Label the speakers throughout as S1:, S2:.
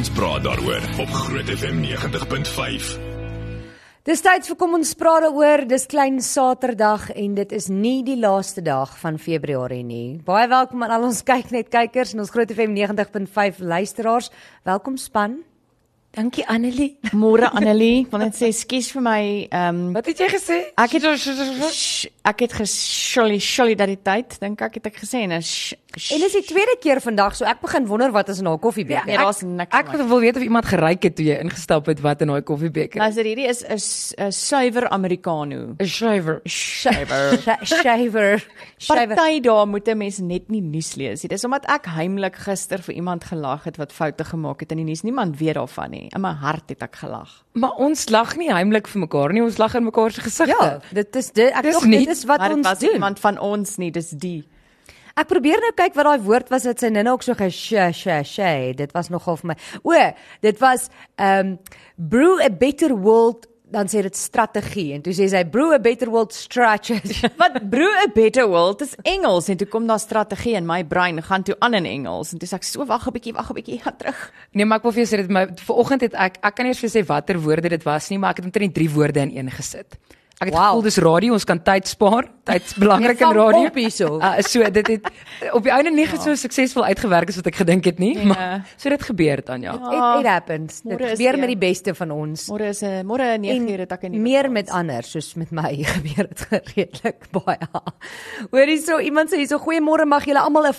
S1: Ons praat daaroor op Groot FM 90.5.
S2: Dis tyd vir kom ons praat daaroor. Dis klein Saterdag en dit is nie die laaste dag van Februarie nie. Baie welkom aan al ons kyk net kykers en ons Groot FM 90.5 luisteraars. Welkom span.
S3: Dankie Annelie. Môre Annelie, want dit sê skus vir my ehm um,
S4: Wat het jy gesê?
S3: ek het sh, ek het gesolly solidariteit dink ek het ek gesê en sh, sh,
S2: En dis die tweede keer vandag, so ek begin wonder wat is in haar koffiebeek.
S3: nee, daar's niks.
S4: Ek
S3: van my.
S4: wil weet of iemand geryk het toe jy ingestap het wat in daai koffiebeker.
S3: luister hierdie Nou, is 'n s- 'n suiwer Americano.
S4: 'n Shaver.
S3: Suiwer.
S2: Sh- Shaver. Shaver.
S3: Party daar moet 'n mens net nie nuus lees nie. Dis omdat ek heimlik gister vir iemand gelag het wat foute gemaak het in die nuus. Niemand weet daarvan nie. In my hart het ek gelag.
S4: Maar ons lag nie heimlik vir mekaar nie, ons lag in mekaar se gesigte.
S2: Ja, dit is dit ek
S4: Dis
S2: dink dit
S4: nie-
S2: is wat
S3: maar dit
S2: ons
S3: was nie
S2: doen.
S3: iemand van ons nie, dis die.
S2: Ek probeer nou kyk wat daai woord was wat sy nou ook so geshe she she. Dit was nogal vir my. O, dit was ehm um, brew a better world dan sê dit strategie en toe sê sy brew a better world strategy.
S3: Wat brew a better world dis Engels en toe kom daar strategie in my brein gaan toe aan in Engels en toe sê ek so wag 'n bietjie wag 'n bietjie gaan terug.
S4: Nee, maar ek wil vir jou sê dit my vanoggend het ek ek kan nie eens vir jou sê watter woorde dit was nie, maar ek het omtrent drie woorde in een gesit. Ek het
S2: Wow.
S4: wow. gevoel dis radio, ons kan tyd spaar. Tyd's belangrik
S2: Jy
S4: in
S2: vang
S4: radio.
S2: op hierso.
S4: Uh, so dit het op die einde nie ja. so suksesvol uitgewerk as wat ek gedink het nie, nee. maar so dit gebeur dan ja.
S2: It, it happens. Dit
S3: Ah, Môre is
S2: gebeur
S3: weer.
S2: met die beste van ons.
S3: Môre is 'n môre 9 uur het ek in die
S2: meer met ander soos met my gebeur dit redelik baie. Hoor hierso, iemand sê hierso goeiemôre mag julle almal 'n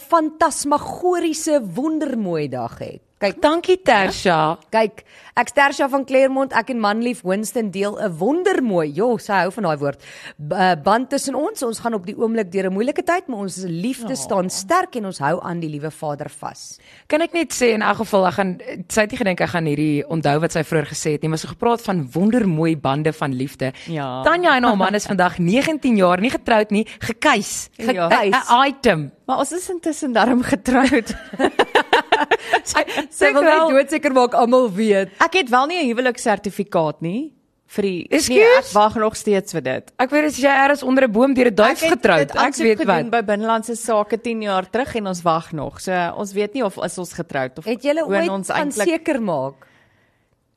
S2: fantasmagoriese wondermooi dag hê. Kyk,
S4: Dankie Tersha.
S2: Kyk, ek Tersha van Claremont, ek en Manlief Winston deel 'n wondermooi, jo, sy hou van daai woord. b- eh, Band tussen ons. Ons gaan op die oomblik deur 'n moeilike tyd, maar ons liefde
S3: Ja.
S2: staan sterk en ons hou aan die liewe Vader vas.
S4: Kan ek net sê in elk geval ek gaan sy het nie gedink ek gaan hierdie onthou wat sy vroeër gesê het nie, maar sy het gepraat van wondermooi bande van liefde.
S3: Ja.
S4: Tanya en haar man is vandag 19 jaar, nie getroud nie, gekuis.
S3: Ja.
S4: 'n ja. item.
S3: Maar ons is intussen darm getroud.
S2: Sy wil net
S3: wel-
S2: doodseker maak almal weet.
S3: ek het wel nie 'n huweliksertifikaat nie vir die nee, ek
S4: Excuse?
S3: wag nog steeds vir dit.
S4: Ek weet as jy ergens onder 'n boom deur 'n duif
S3: Ek het
S4: getroud,
S3: dit
S4: ek
S3: aansoek
S4: weet
S3: gedoen
S4: wat.
S3: by binnelandse sake 10 jaar terug en ons wag nog. So ons weet nie of is ons getroud of
S2: Het julle
S3: woon
S2: ooit
S3: ons
S2: gaan
S3: eintlik
S2: seker maak?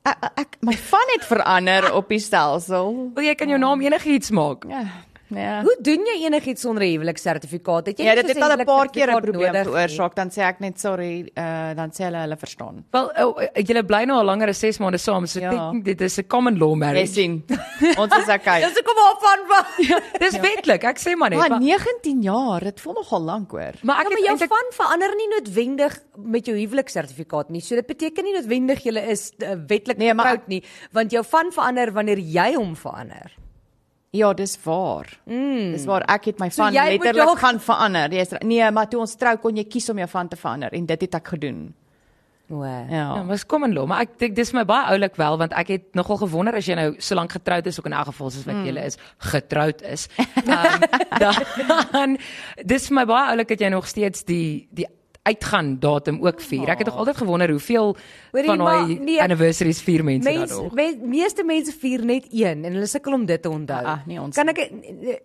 S3: ek, ek my van het verander op die stelsel.
S4: Wil jy kan jou naam enigiets maak?
S3: Ja. Ja.
S2: Hoe doen jy enigiets sonder 'n huweliksertifikaat? Het jy
S3: Ja,
S2: nie
S3: dit
S2: soos
S3: het al 'n paar keer 'n
S2: huweliksertifikaat
S3: probleem
S2: nodig nie?
S3: veroorsaak, dan sê ek net sorry, uh, dan sê hulle hulle verstaan.
S4: Wel, oh, julle bly nou al langer as 6 maande saam, so
S3: Ja.
S4: ja. dit, dit is 'n common law
S3: Jy
S4: marriage.
S3: sien. Ons is okay.
S2: Dis hoekom haar van van. Ja,
S4: Dis wetlik, ek sê maar net.
S3: Maar
S4: Maar,
S3: 19 jaar, dit voel nogal lank hoor.
S4: maar ek
S2: Ja, maar
S4: het
S2: jou
S4: eintlik
S2: van verander nie noodwendig met jou huweliksertifikaat nie. So dit beteken nie noodwendig jy is uh, wetlik
S3: Nee, maar
S2: getroud nie, want jou van verander wanneer jy hom verander.
S3: Ja, dis waar. Mm. Dis waar ek het my van
S2: jy moet
S3: letterlik
S2: dalk-
S3: gaan verander. Jy's re- nee, maar toe ons trou kon jy kies om jou van te verander en dit het ek gedoen.
S2: O. eh,
S4: Ja,
S3: Ja.
S4: was kom en law, maar ek dink dis my baie oulik wel want ek het nogal gewonder as jy nou so lank getroud is ook in elk geval soos wat jy is getroud is. Um, dan dis my baie oulik dat jy nog steeds die die uitgaan datum ook vier. Ek het nog altyd gewonder hoeveel
S2: Hoorie,
S4: van daai
S2: maar nee,
S4: anniversaries vier mense
S2: Mens,
S4: daar nog.
S2: mens, meeste mense vier net een en hulle sukkel om dit te onthou.
S3: Ah, ah, nee, ons
S2: kan ek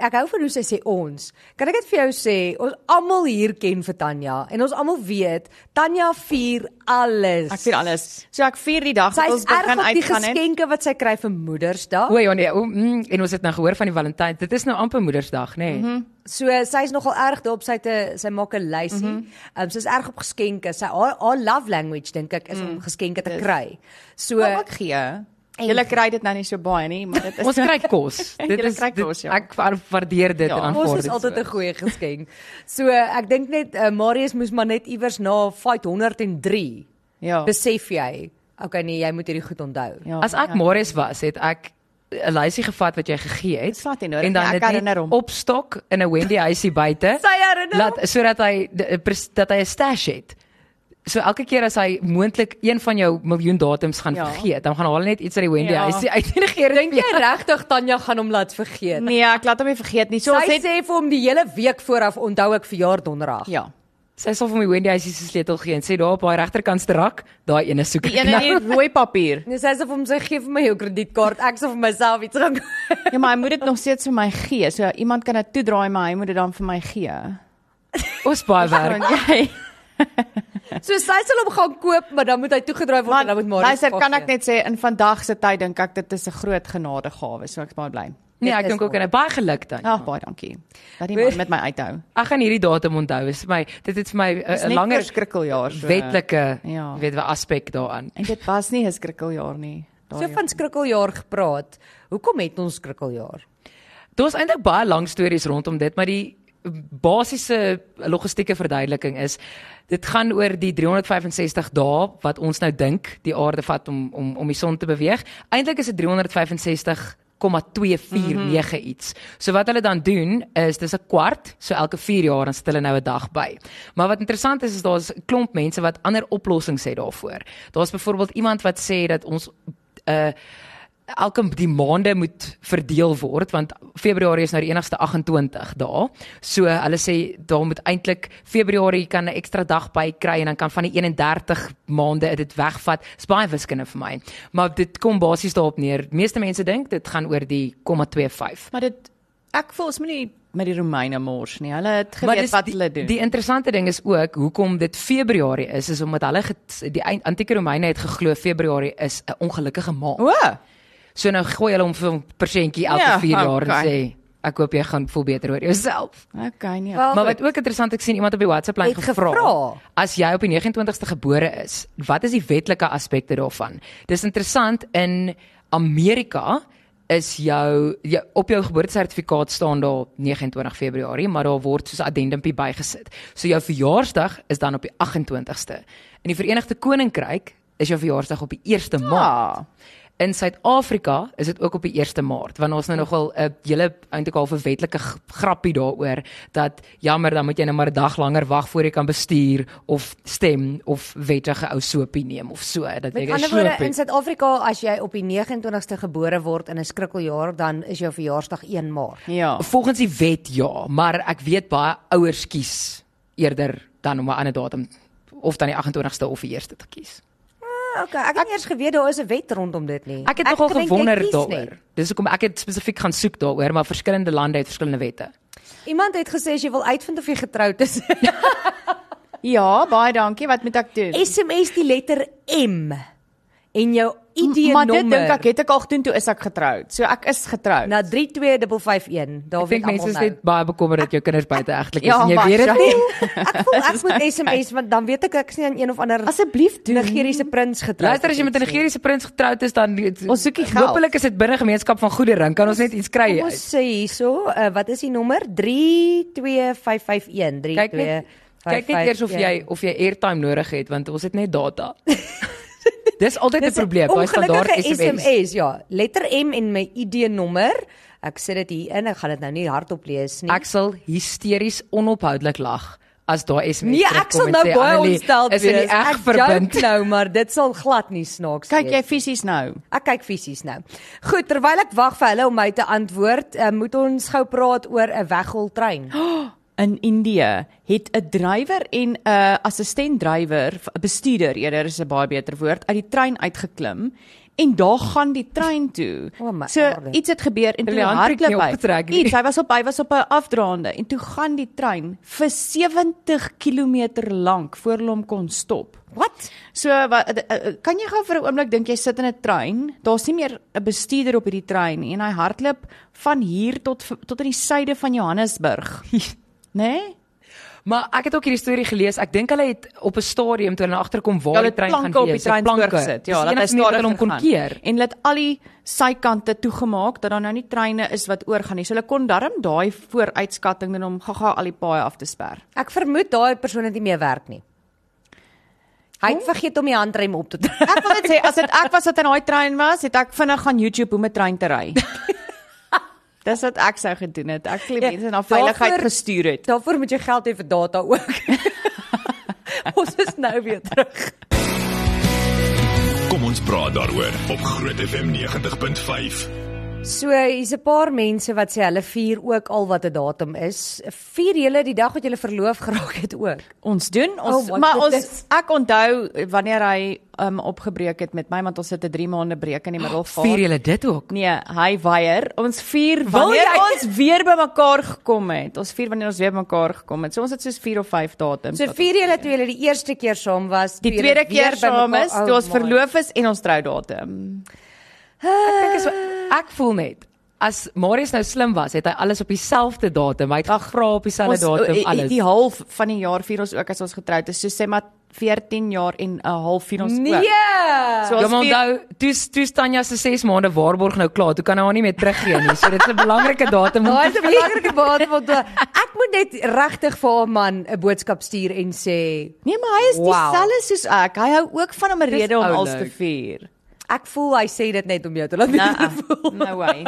S2: ek hou van hoe sy sê ons. Kan ek dit vir jou sê? Ons almal hier ken vir Tanya en ons almal weet Tanya vier alles.
S3: Ek vier alles. So ek vier die dag
S2: Sy
S3: dat ons
S2: is erg op
S3: begin
S2: die
S3: uitgaan het.
S2: geskenke wat sy kry vir Moedersdag.
S4: O ja nee, o, mm, en ons het nou gehoor van die Valentyn. Dit is nou amper Moedersdag, nê? Nee. Mm -hmm.
S2: So sy's nogal erg daarop sy te sy maak 'n lysie.
S3: Mhm.
S2: Ehm um, sy's erg op geskenke. Sy haar, haar love language dink ek is
S3: Mm.
S2: om geskenke te kry. So
S3: Kom ek gee. Julle kry dit nou nie so baie nie, maar dit is
S4: Ons kry kos. Dit
S3: Julle
S4: is
S3: kry
S4: dit,
S3: kos, ja.
S4: ek wa- waardeer dit
S3: Ja.
S4: en aanvaar
S2: Ons
S4: dit.
S2: is
S4: so.
S2: altyd 'n goeie geskenk. So ek dink net uh, Marius moes maar net iewers na fight 103
S3: Ja.
S2: besef jy, okay nee, jy moet hierdie goed onthou.
S3: Ja.
S4: As ek Marius was, het ek 'n lysie gevat wat jy gegee het.
S3: Dis glad nie nodig
S4: en dan
S3: nie, ek
S4: dit net
S3: herinner hom.
S4: Opstok in 'n Wendy huisie buite.
S2: Sy herinner
S4: Laat sodat hy de- eh, pres- dat hy 'n stash het. So elke keer as hy moontlik een van jou miljoen datums gaan
S3: Ja.
S4: ja. vergeet, dan gaan haal hy net iets uit die Wendy
S3: Ja.
S4: huisie uit en gee
S2: Dink
S4: dit
S2: jy
S4: weer.
S2: regtig Tanya gaan hom laat vergeet?
S3: Nee, ek laat hom nie vergeet nie. So ons
S2: Sy
S3: het
S2: sê vir hom die hele week vooraf onthou ek verjaar donderdag.
S3: ja.
S4: Sy sal vir my Wendy huisie se sleutel gee en sê daar op haar regterkant se rak, daai ene soek ek
S3: Die ene
S4: nou.
S3: het rooi papier.
S2: Dis asof hom sy gee vir my jou kredietkaart, ek sal vir myself iets gaan koop.
S3: Ja, maar hy moet dit nog steeds vir my gee. So iemand kan dit toedraai, maar hy moet dit dan vir my gee.
S4: Ons baie werk.
S3: Want jy
S2: So sy sal hom gaan koop, maar dan moet hy toegedryf word en dan moet Marius.
S3: luister, kan ek net sê in vandag se tyd dink ek dit is 'n groot genadegawe, so ek is Ja. baie bly.
S4: Nee,
S2: Dit
S4: ek
S2: is
S4: dink ook en baie geluk dan.
S3: Ag, baie dankie. Dat die man met my uithou.
S4: Ek gaan hierdie datum onthou. Is vir my dit het vir my 'n-
S3: Dis
S4: 'n
S3: net
S4: langer
S3: skrikkeljaar so.
S4: wetlike,
S3: Ja.
S4: ja. weet wat aspek daaraan.
S3: En dit was nie 'n skrikkeljaar nie.
S2: So
S3: daai
S2: van skrikkeljaar gepraat. Hoekom het ons skrikkeljaar?
S4: Daar's eintlik baie lang stories rondom dit, maar die basiese logistieke verduideliking is dit gaan oor die 365 dae wat ons nou dink die aarde vat om om om die son te beweeg. Eintlik is dit 365 0,249 iets. So wat hulle dan doen is dis 'n kwart, so elke 4 jaar dan sit hulle nou 'n dag by. Maar wat interessant is is daar's 'n klomp mense wat ander oplossings het daarvoor. Daar's byvoorbeeld iemand wat sê dat ons eh, 'n elke die maande moet verdeel word want Februarie is nou die enigste 28 dae. So hulle sê daar moet eintlik Februarie kan 'n ekstra dag by kry en dan kan van die 31 maande dit wegvat. Dis baie wiskunde vir my. Maar dit kom basies daarop neer. Meeste mense dink dit gaan oor die 0,25.
S3: Maar dit ek voel ons moenie met die Romeine mors nie. Hulle het
S4: Maar
S3: geweet
S4: dis
S3: wat
S4: die-
S3: hulle doen.
S4: Die interessante ding is ook hoekom dit Februarie is, is omdat hulle get, die eind- antieke Romeine het geglo Februarie is 'n ongelukkige maand.
S3: o,
S4: So nou gooi hulle hom vir 'n persentjie elke
S3: Ja,
S4: 4 jaar en
S3: okay.
S4: sê ek hoop jy gaan voel beter oor jouself.
S3: okay nee.
S2: Wel,
S4: Maar wat ook interessant ek sien iemand op die WhatsApp lyn
S2: Het
S4: gevra
S2: gevra.
S4: as jy op die 29ste gebore is, wat is die wetlike aspekte daarvan? Dis interessant in Amerika is jou, jou op jou geboortesertifikaat staan daar 29 Februarie, maar daar word soos 'n addendumpie bygesit. So jou verjaarsdag is dan op die 28ste. In die Verenigde Koninkryk is jou verjaarsdag op die 1ste
S2: Ah.
S4: Maart.
S3: maar
S4: In Suid-Afrika is dit ook op die 1 Maart, want ons nou nogal 'n hele eintlik al 'n wetlike g- grappie daaroor dat jammer dan moet jy nou maar 'n dag langer wag voor jy kan bestuur of stem of wettige ou sopie neem of so dat jy
S2: Met
S4: kan
S2: ander woorde
S4: sopie.
S2: in Suid-Afrika as jy op die 29ste gebore word in 'n skrikkeljaar, dan is jou verjaarsdag 1 Maart.
S3: ja.
S4: Volgens die wet ja, maar ek weet baie ouers kies eerder dan om 'n ander datum of dan die 28ste of die 1ste te kies.
S2: Ah, okay, ek het nie eers geweet daar is 'n wet rondom dit nie.
S4: Ek het
S2: ek
S4: nogal
S2: dink jy
S4: gewonder
S2: kies
S4: daaroor. Dis hoekom ek het spesifiek gaan soek daaroor, maar verskillende lande het verskillende wette.
S2: Iemand het gesê as jy wil uitvind of jy getroud is,
S3: Ja, baie dankie. Wat moet ek doen?
S2: SMS die letter M en jou ID
S3: Mm, maar
S2: nommer. Nou,
S3: dit dink ek het ek al gedoen toe is ek getroud. So ek is getroud.
S2: na 32551. Daar
S4: Ek
S2: weet
S4: dink mense
S2: almal
S4: is
S2: nou.
S4: net baie bekommerd dat jou kinders buite egtelik is
S3: Ja,
S4: en jy
S3: maar
S4: weet dit
S3: Jacques-
S4: nie.
S2: Ek voel ek moet SMS want dan weet ek ek's nie aan een of ander
S3: Asseblief doen.
S2: Nigeriese prins getroud.
S4: Luister as jy met 'n
S2: iets nie.
S4: Nigeriese prins getroud is dan
S3: Ons soek die geld.
S4: Hoopelik is dit binne gemeenskap van goeie ring kan ons net iets kry.
S2: Kom ons sê hierso, uh, wat is die nommer? 32551. 32551.
S4: Kyk net kyk net eers of jy of jy airtime nodig het want ons het net data. Dis altyd 'n probleem by standaard
S2: Ongelukkige
S4: SMS.
S2: SMS, ja, letter M en my ID nommer. Ek sit dit hier in. Ek gaan dit nou nie hardop lees nie.
S4: Ek sal hysteries onophoudelik lag as daai SMS
S2: Nee, ek sal nou baie ontstel
S4: wees. Is in die eg verbind.
S2: nou, maar dit sal glad nie snaaks
S3: Kyk jy
S2: wees.
S3: fisies nou.
S2: Ek kyk fisies nou. Goed, terwyl ek wag vir hulle om my te antwoord, uh, moet ons gou praat oor 'n weggoltrein.
S3: In Indië het 'n drywer en 'n assistent drywer, 'n bestuurder eerder is 'n baie beter woord, uit die trein uitgeklim en daar gaan die trein toe.
S2: O, my
S3: so
S2: aarde.
S3: iets het gebeur en toe
S4: Hulle hand het nie
S3: hardloop hy.
S4: opgetrek nie.
S3: Iets, hy was op hy was op 'n afdraande en toe gaan die trein vir 70 km lank voor hulle hom kon stop.
S2: Wat?
S3: So wat eh, eh, kan jy gou vir 'n oomblik dink jy sit in 'n trein, daar's nie meer 'n bestuurder op hierdie trein nie en hy hardloop van hier tot v- tot in die suide van Johannesburg. Né? Nee?
S4: Maar ek het ook hierdie storie gelees. Ek dink hulle het op 'n stadium toe hulle nou agterkom waar
S3: Ja,
S4: die
S3: hulle
S4: trein gaan
S3: planke op die
S4: wees,
S3: trein voorgesit. Ja,
S4: dat
S3: dat hy
S4: stadig
S3: stadig
S4: hom kon
S3: gegaan.
S4: keer.
S3: En hulle het al die sykante toegemaak dat daar nou nie treine is wat oorgaan nie. So hulle kon darm daai vooruitskatting doen om gaga al die paaie af te sper.
S2: Ek vermoed daai persoon het nie meer werk nie. Hy het vergeet om die handrem op te trek.
S3: Ek wil net sê as dit ek was wat in daai trein was, het ek vinnig gaan YouTube hoe om 'n trein te ry. Dis wat ek sou gedoen het. Ek sou die mense na veiligheid
S2: daarvoor-
S3: gestuur het.
S2: Daarvoor moet jy geld hê vir data ook. ons is nou weer terug.
S1: Kom ons praat daaroor op Groot FM 90.5.
S2: So hier's 'n paar mense wat sê hulle vier ook al wat 'n datum is. Vier julle die dag wat julle verloof geraak het ook?
S3: Ons doen ons
S2: Oh,
S3: oh,
S2: wat
S3: maar
S2: dit
S3: ons
S2: is.
S3: ek onthou wanneer hy um opgebreek het met my want ons het 'n 3 maande breek in die middel gehad.
S4: Vier julle dit ook?
S3: Nee, hy weier. Ons vier wanneer
S2: jy?
S3: ons weer bymekaar gekom het. Ons vier wanneer ons weer bymekaar gekom het. So ons het soos 4 of 5 datums.
S2: So vier julle toe julle die eerste keer saam was, toe
S3: die
S2: julle
S3: tweede
S2: weer
S3: keer saam
S2: bymekaar-
S3: is, toe
S2: Oh
S3: ons
S2: my.
S3: verloof is en ons troudatum.
S4: Ek dink is ek voel net as Marius nou slim was, het hy alles op dieselfde datum. Hy het gevra op dieselfde
S3: Ons
S4: datum
S3: eh, eh,
S4: alles. Ja,
S3: die half van die jaar vier ons ook as ons getroud is. So sê maar 14 jaar en 'n half vier ons ook.
S2: Nee.
S3: So
S4: Ja,
S3: ons
S4: maar
S3: vier,
S4: onthou, toe toe Tanya se 6 maande waarborg nou klaar. Toe kan hy haar nie meer teruggee nie. So dit is 'n belangrike datum om
S2: Daar
S4: te
S2: is 'n belangrike baat wat ek moet net regtig vir haar man 'n boodskap stuur en sê
S3: nee, maar hy is
S2: Wow.
S3: dieselfde soos ek. Hy hou ook van om 'n
S4: Dis
S3: rede om alles te
S4: oulik.
S3: vier.
S2: ek voel hy sê dit net om jou te laat weet.
S3: Nah, no way.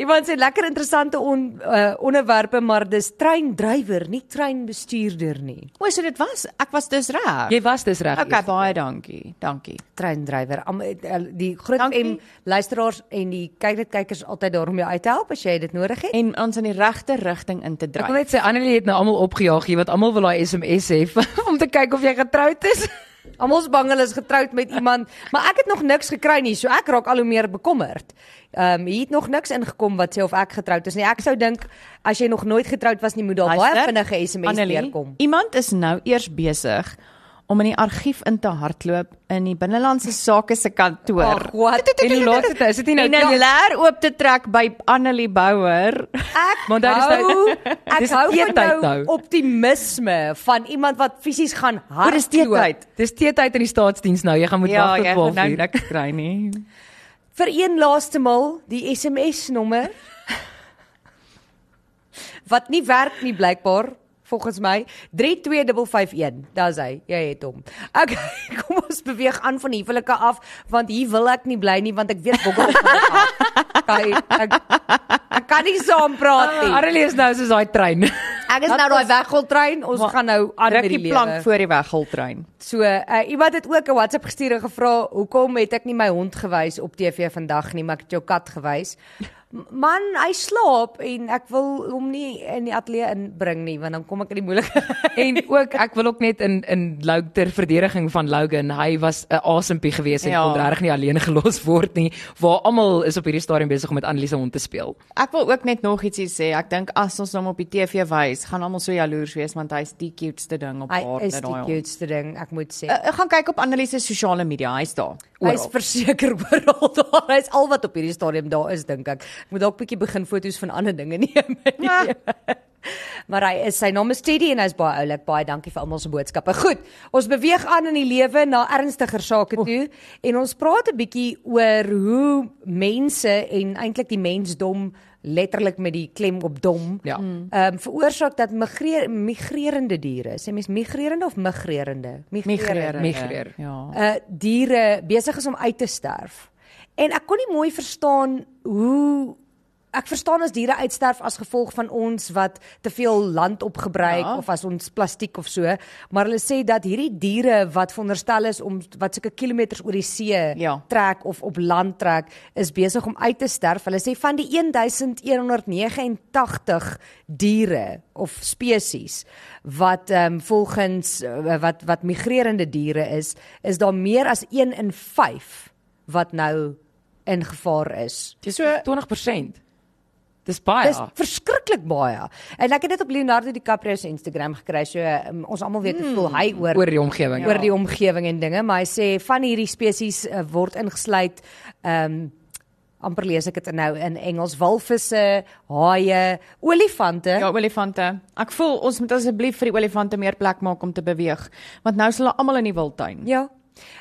S2: Iemand sê lekker interessante on, uh, onderwerpe, maar dis treindrywer, nie treinbestuurder nie.
S3: O, so dit was. Ek was dus reg.
S4: Jy was dis reg.
S3: Okay, baie dankie. Dankie.
S2: Treindrywer. Am- eh, Die groot
S3: Dankie.
S2: M luisteraars en die kyk dit kykers altyd daar om jou uit te help as jy dit nodig het.
S3: en ons in die regte rigting in te
S4: Ek wil
S3: draai.
S4: net sê Annelie het nou almal opgejaag hier want almal wil daai SMS hê om te kyk of jy getroud is.
S2: Almal is bang hulle is getroud met iemand, maar ek het nog niks gekry nie, so ek raak al hoe meer bekommerd. Ehm um, hier het nog niks ingekom wat sê of ek getroud is nie. Ek sou dink as jy nog nooit getroud was nie, moet daar baie
S3: Luister,
S2: vinnige SMS
S3: Annelie,
S2: deurkom.
S3: Iemand is nou eers besig om in die argief in te hardloop in die binnelandse sake se kantoor.
S2: Ag, wat?
S4: En die laatste tyd, is dit nie nou
S3: en 'n leer oop te trek by Annelie Bouwer.
S2: Ek
S4: Maar daar is
S2: hou,
S4: nou-
S2: ek
S4: dis
S2: hou van
S4: teetyd
S2: jou
S4: nou.
S2: optimisme van iemand wat fisies gaan hardloop.
S3: dis teetyd.
S4: Dis teetyd in die staatsdiens nou. Jy gaan
S2: ja,
S4: moet wag tot 12
S3: nou
S4: uur.
S3: niks kry nie.
S2: Vir een laaste maal die SMS nommer wat nie werk nie blykbaar volgens my 32551. Daar's hy. Jy het hom. Okay, kom ons beweeg aan van die huwelike af want hier wil ek nie bly nie want ek weet bokkel gaan dit af. Okay, ek, ek kan nie saam praat nie.
S4: Arrelie is nou soos daai trein.
S2: Ek is nou daai weggoltrein. Ons gaan nou aan met
S3: Druk
S2: die lewe.
S3: die plank voor die weggoltrein.
S2: So, uh, iemand het ook 'n WhatsApp gestuur en gevra, "Hoekom het ek nie my hond gewys op TV vandag nie, maar ek het jou kat gewys?" M- Man, hy slaap en ek wil hom nie in die ateljee inbring nie, want dan kom ek in die moeilikheid.
S4: en ook ek wil ook net in in Louter verdediging van Logan. Hy was 'n asempie geweest en
S3: Ja.
S4: kon regtig nie alleen gelos word nie. Waar almal is op hierdie stadium besig om met Annelie se hond te speel.
S3: Ek wil ook net nog ietsie sê. Ek dink as ons hom op die TV wys, gaan almal so jaloers wees want hy's die cutest ding op
S2: Hy
S3: aarde
S2: is die
S3: hond.
S2: cuteste ding, ek moet sê.
S3: Uh, gaan kyk op Annelie se sosiale media, hy's daar.
S2: Hy's verseker oral daar. Hy's al wat op hierdie stadium daar is, dink ek. Ek moet dalk bietjie begin foto's van ander dinge neem.
S3: Ja.
S2: maar hy is sy naam is Teddy en hy's baie oulik. Baie dankie vir almal se boodskappe. Goed, ons beweeg aan in die lewe na ernstiger sake toe en ons praat 'n bietjie oor hoe mense en eintlik die mensdom letterlik met die klem op dom.
S4: Ja.
S2: Ehm um, veroorsaak dat migreer, migrerende diere, sê mens migrerende of migrerende?
S3: migreer.
S4: Migreer.
S3: Ja.
S2: uh diere besig is om uit te sterf. En ek kon nie mooi verstaan hoe ek verstaan as diere uitsterf as gevolg van ons wat te veel land opgebruik ja.
S3: Ja.
S2: of as ons plastiek of so, maar hulle sê dat hierdie diere wat veronderstel is om wat sulke kilometers oor die see
S3: Ja.
S2: trek of op land trek, is besig om uit te sterf. Hulle sê van die 1189 diere of spesies wat ehm um, volgens eh, wat wat migrerende diere is, is daar meer as 1 in 5 wat nou in gevaar is.
S4: Dis
S3: So-
S4: 20%. Dis baie.
S2: Dis verskriklik baie. En ek het dit op Leonardo DiCaprio se Instagram gekry. So um, ons almal weet hoe voel hy oor
S4: oor die
S3: Ja.
S4: omgewing.
S2: oor die omgewing en dinge, maar hy sê van hierdie spesies uh, word ingesluit ehm um, amper lees ek dit nou in Engels walvisse, haie, olifante.
S3: Ja, olifante. Ek voel ons moet asseblief vir die olifante meer plek maak om te beweeg, want nou is hulle almal in die wildtuin.
S2: Ja.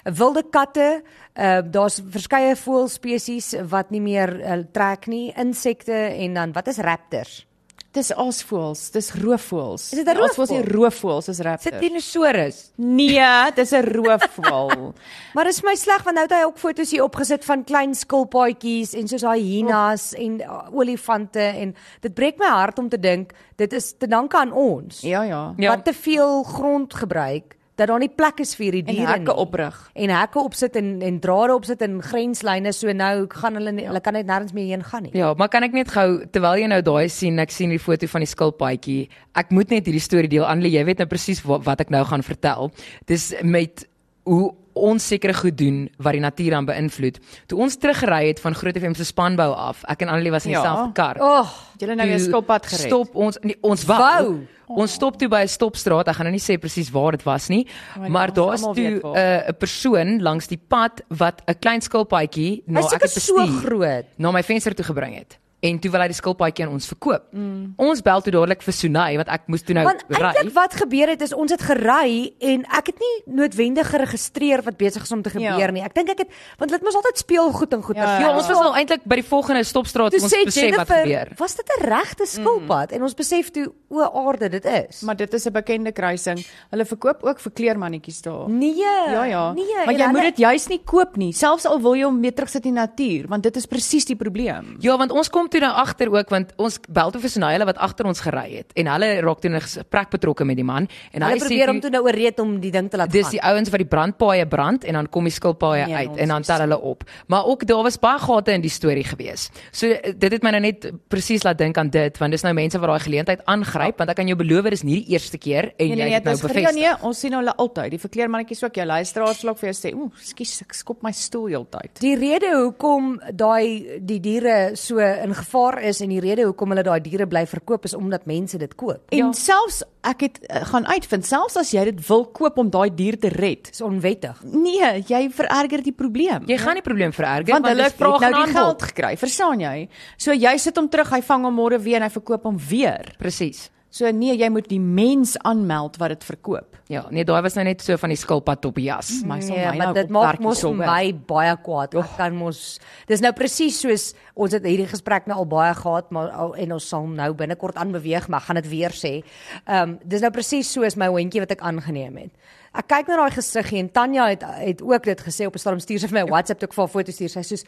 S2: Wilde katte, uh, daar's verskeie voëlspesies wat nie meer uh, trek nie, insekte en dan wat is raptors?
S3: Dis aasvoëls, dis roofvoëls.
S2: Is dit 'n
S3: Die aasvoëls nie
S2: roofvoël?
S3: roofvoëls, dis
S4: Sit
S3: raptors.
S4: dinosourus.
S3: Nee, dis 'n roofvoël.
S2: Maar dis my sleg want nou het hy ook foto's hier opgesit van klein skilpaadjies en soos hyenas oh. en uh, olifante en dit breek my hart om te dink dit is te danke aan ons.
S3: ja, ja.
S4: Ja.
S2: wat te veel grond gebruik dat daar nie plek is vir hierdie
S3: En
S2: diere
S3: hekke
S2: nie.
S3: oprig.
S2: en hekke opsit en en drade opsit en grenslyne so nou gaan hulle nie, hulle kan net nêrens meer heen gaan nie.
S4: Ja, maar kan ek net gou terwyl jy nou daai sien, ek sien die foto van die skilpaadjie. Ek moet net hierdie storie deel aan, jy weet nou presies wat, wat ek nou gaan vertel. Dis met hoe onsekere goed doen wat die natuur aan beïnvloed. Toe ons teruggery het van Groot FM se spanbou af, ek en Annelie was in
S3: Ja.
S4: dieselfde kar.
S2: Oh,
S3: Julle nou weer
S4: Toe
S3: skilpad gered.
S4: Stop ons nee, ons wou.
S2: Wou.
S4: Ons stop toe by 'n stopstraat. Ek gaan nou nie sê presies waar dit was nie,
S3: Maar
S4: maar
S3: ons
S4: daar's
S3: almal
S4: toe
S3: weet
S4: 'n
S3: waar.
S4: 'n persoon langs die pad wat 'n klein skilpaadjie na
S2: hy's
S4: ek
S2: seker
S4: het
S2: so
S4: bestuur
S2: groot.
S4: na my venster toe gebring het. En toe wil hy die skilpaadjie aan ons verkoop. Mm. Ons bel toe dadelik vir Sunay want ek moes toe nou
S2: Want
S4: ry.
S2: eintlik wat gebeur het is ons het gery en ek het nie noodwendig geregistreer wat besig is om te
S3: Ja.
S2: gebeur nie. Ek dink ek het want dit mos altyd speelgoed en goed.
S3: Ja,
S4: Ja, ons was al eintlik by die volgende stopstraat toe ons besef wat gebeur.
S2: was dit 'n regte skilpad mm. en ons besef toe o aarde dit is.
S3: Maar dit is 'n bekende kruising. Hulle verkoop ook vir kleermannetjies daar.
S2: nee.
S3: Ja ja.
S2: Nee,
S3: maar
S2: en
S3: jy moet
S2: hulle-
S3: dit juis nie koop nie, selfs al wil jy hom weer terugsit in die natuur, want dit is presies die probleem.
S4: Ja, want ons kom toe nou agter ook want ons bel toe vir Sunay hulle wat agter ons gery het en hulle raak toe nou 'n gesprek betrokke met die man en hy
S2: hulle
S4: sê
S2: probeer om toe
S4: toe-
S2: nou oreed om die ding te laat
S4: Dis
S2: gaan.
S4: die ouens wat die brandpaaie brand en dan kom die skilpaaie
S3: Nee,
S4: uit
S3: ons
S4: en dan tel hulle op. Maar ook daar was baie gate in die storie gewees. So eh, dit het my nou net presies laat dink aan dit want dis nou mense wat daai geleentheid aangryp want ek kan jou beloof dis nie die eerste keer en jy het dit nou
S3: dis gere- ja,
S4: bevestig.
S3: nee, ons sien hulle altyd. Die verkleermannetjies ook, Ja, jou luisteraars sal ook vir jou sê, "Oeh, skus, ek skop my stoel heeltyd."
S2: Die rede hoekom daai die diere so in gevaar is en die rede hoekom hulle daai diere bly verkoop is omdat mense dit koop.
S3: En ja. selfs ek het eh, gaan uitvind, selfs as jy dit wil koop om daai dier te red,
S2: Dis onwettig.
S3: nee, jy vererger die probleem.
S4: Jy gaan nie probleem vererger
S3: want hulle
S4: dis
S3: het nou
S4: vraag en
S3: die
S4: aanbod.
S3: geld gekry, verstaan jy? So jy sit hom terug, hy vang hom môre weer en hy verkoop hom weer.
S4: Presies.
S3: So nee, jy moet die mens aanmeld wat dit verkoop.
S4: Ja, nee, daai was nou net so van die skilpad op die jas. Mm.
S3: Maar nou
S2: Nee, maar dit maak mos vir my baie kwaad. Ek kan mos Dis nou presies soos ons het hierdie gesprek nou al baie gehad, maar al, en ons sal hom nou binnekort aanbeweeg, maar ek gaan dit weer sê. Ehm um, dis nou presies soos my hondjie wat ek aangeneem het. Ek kyk na daai gesiggie en Tanya het het ook dit gesê op 'n stadium stuur sy vir my 'n WhatsApp toe ek vir haar foto's stuur. Sy sê soos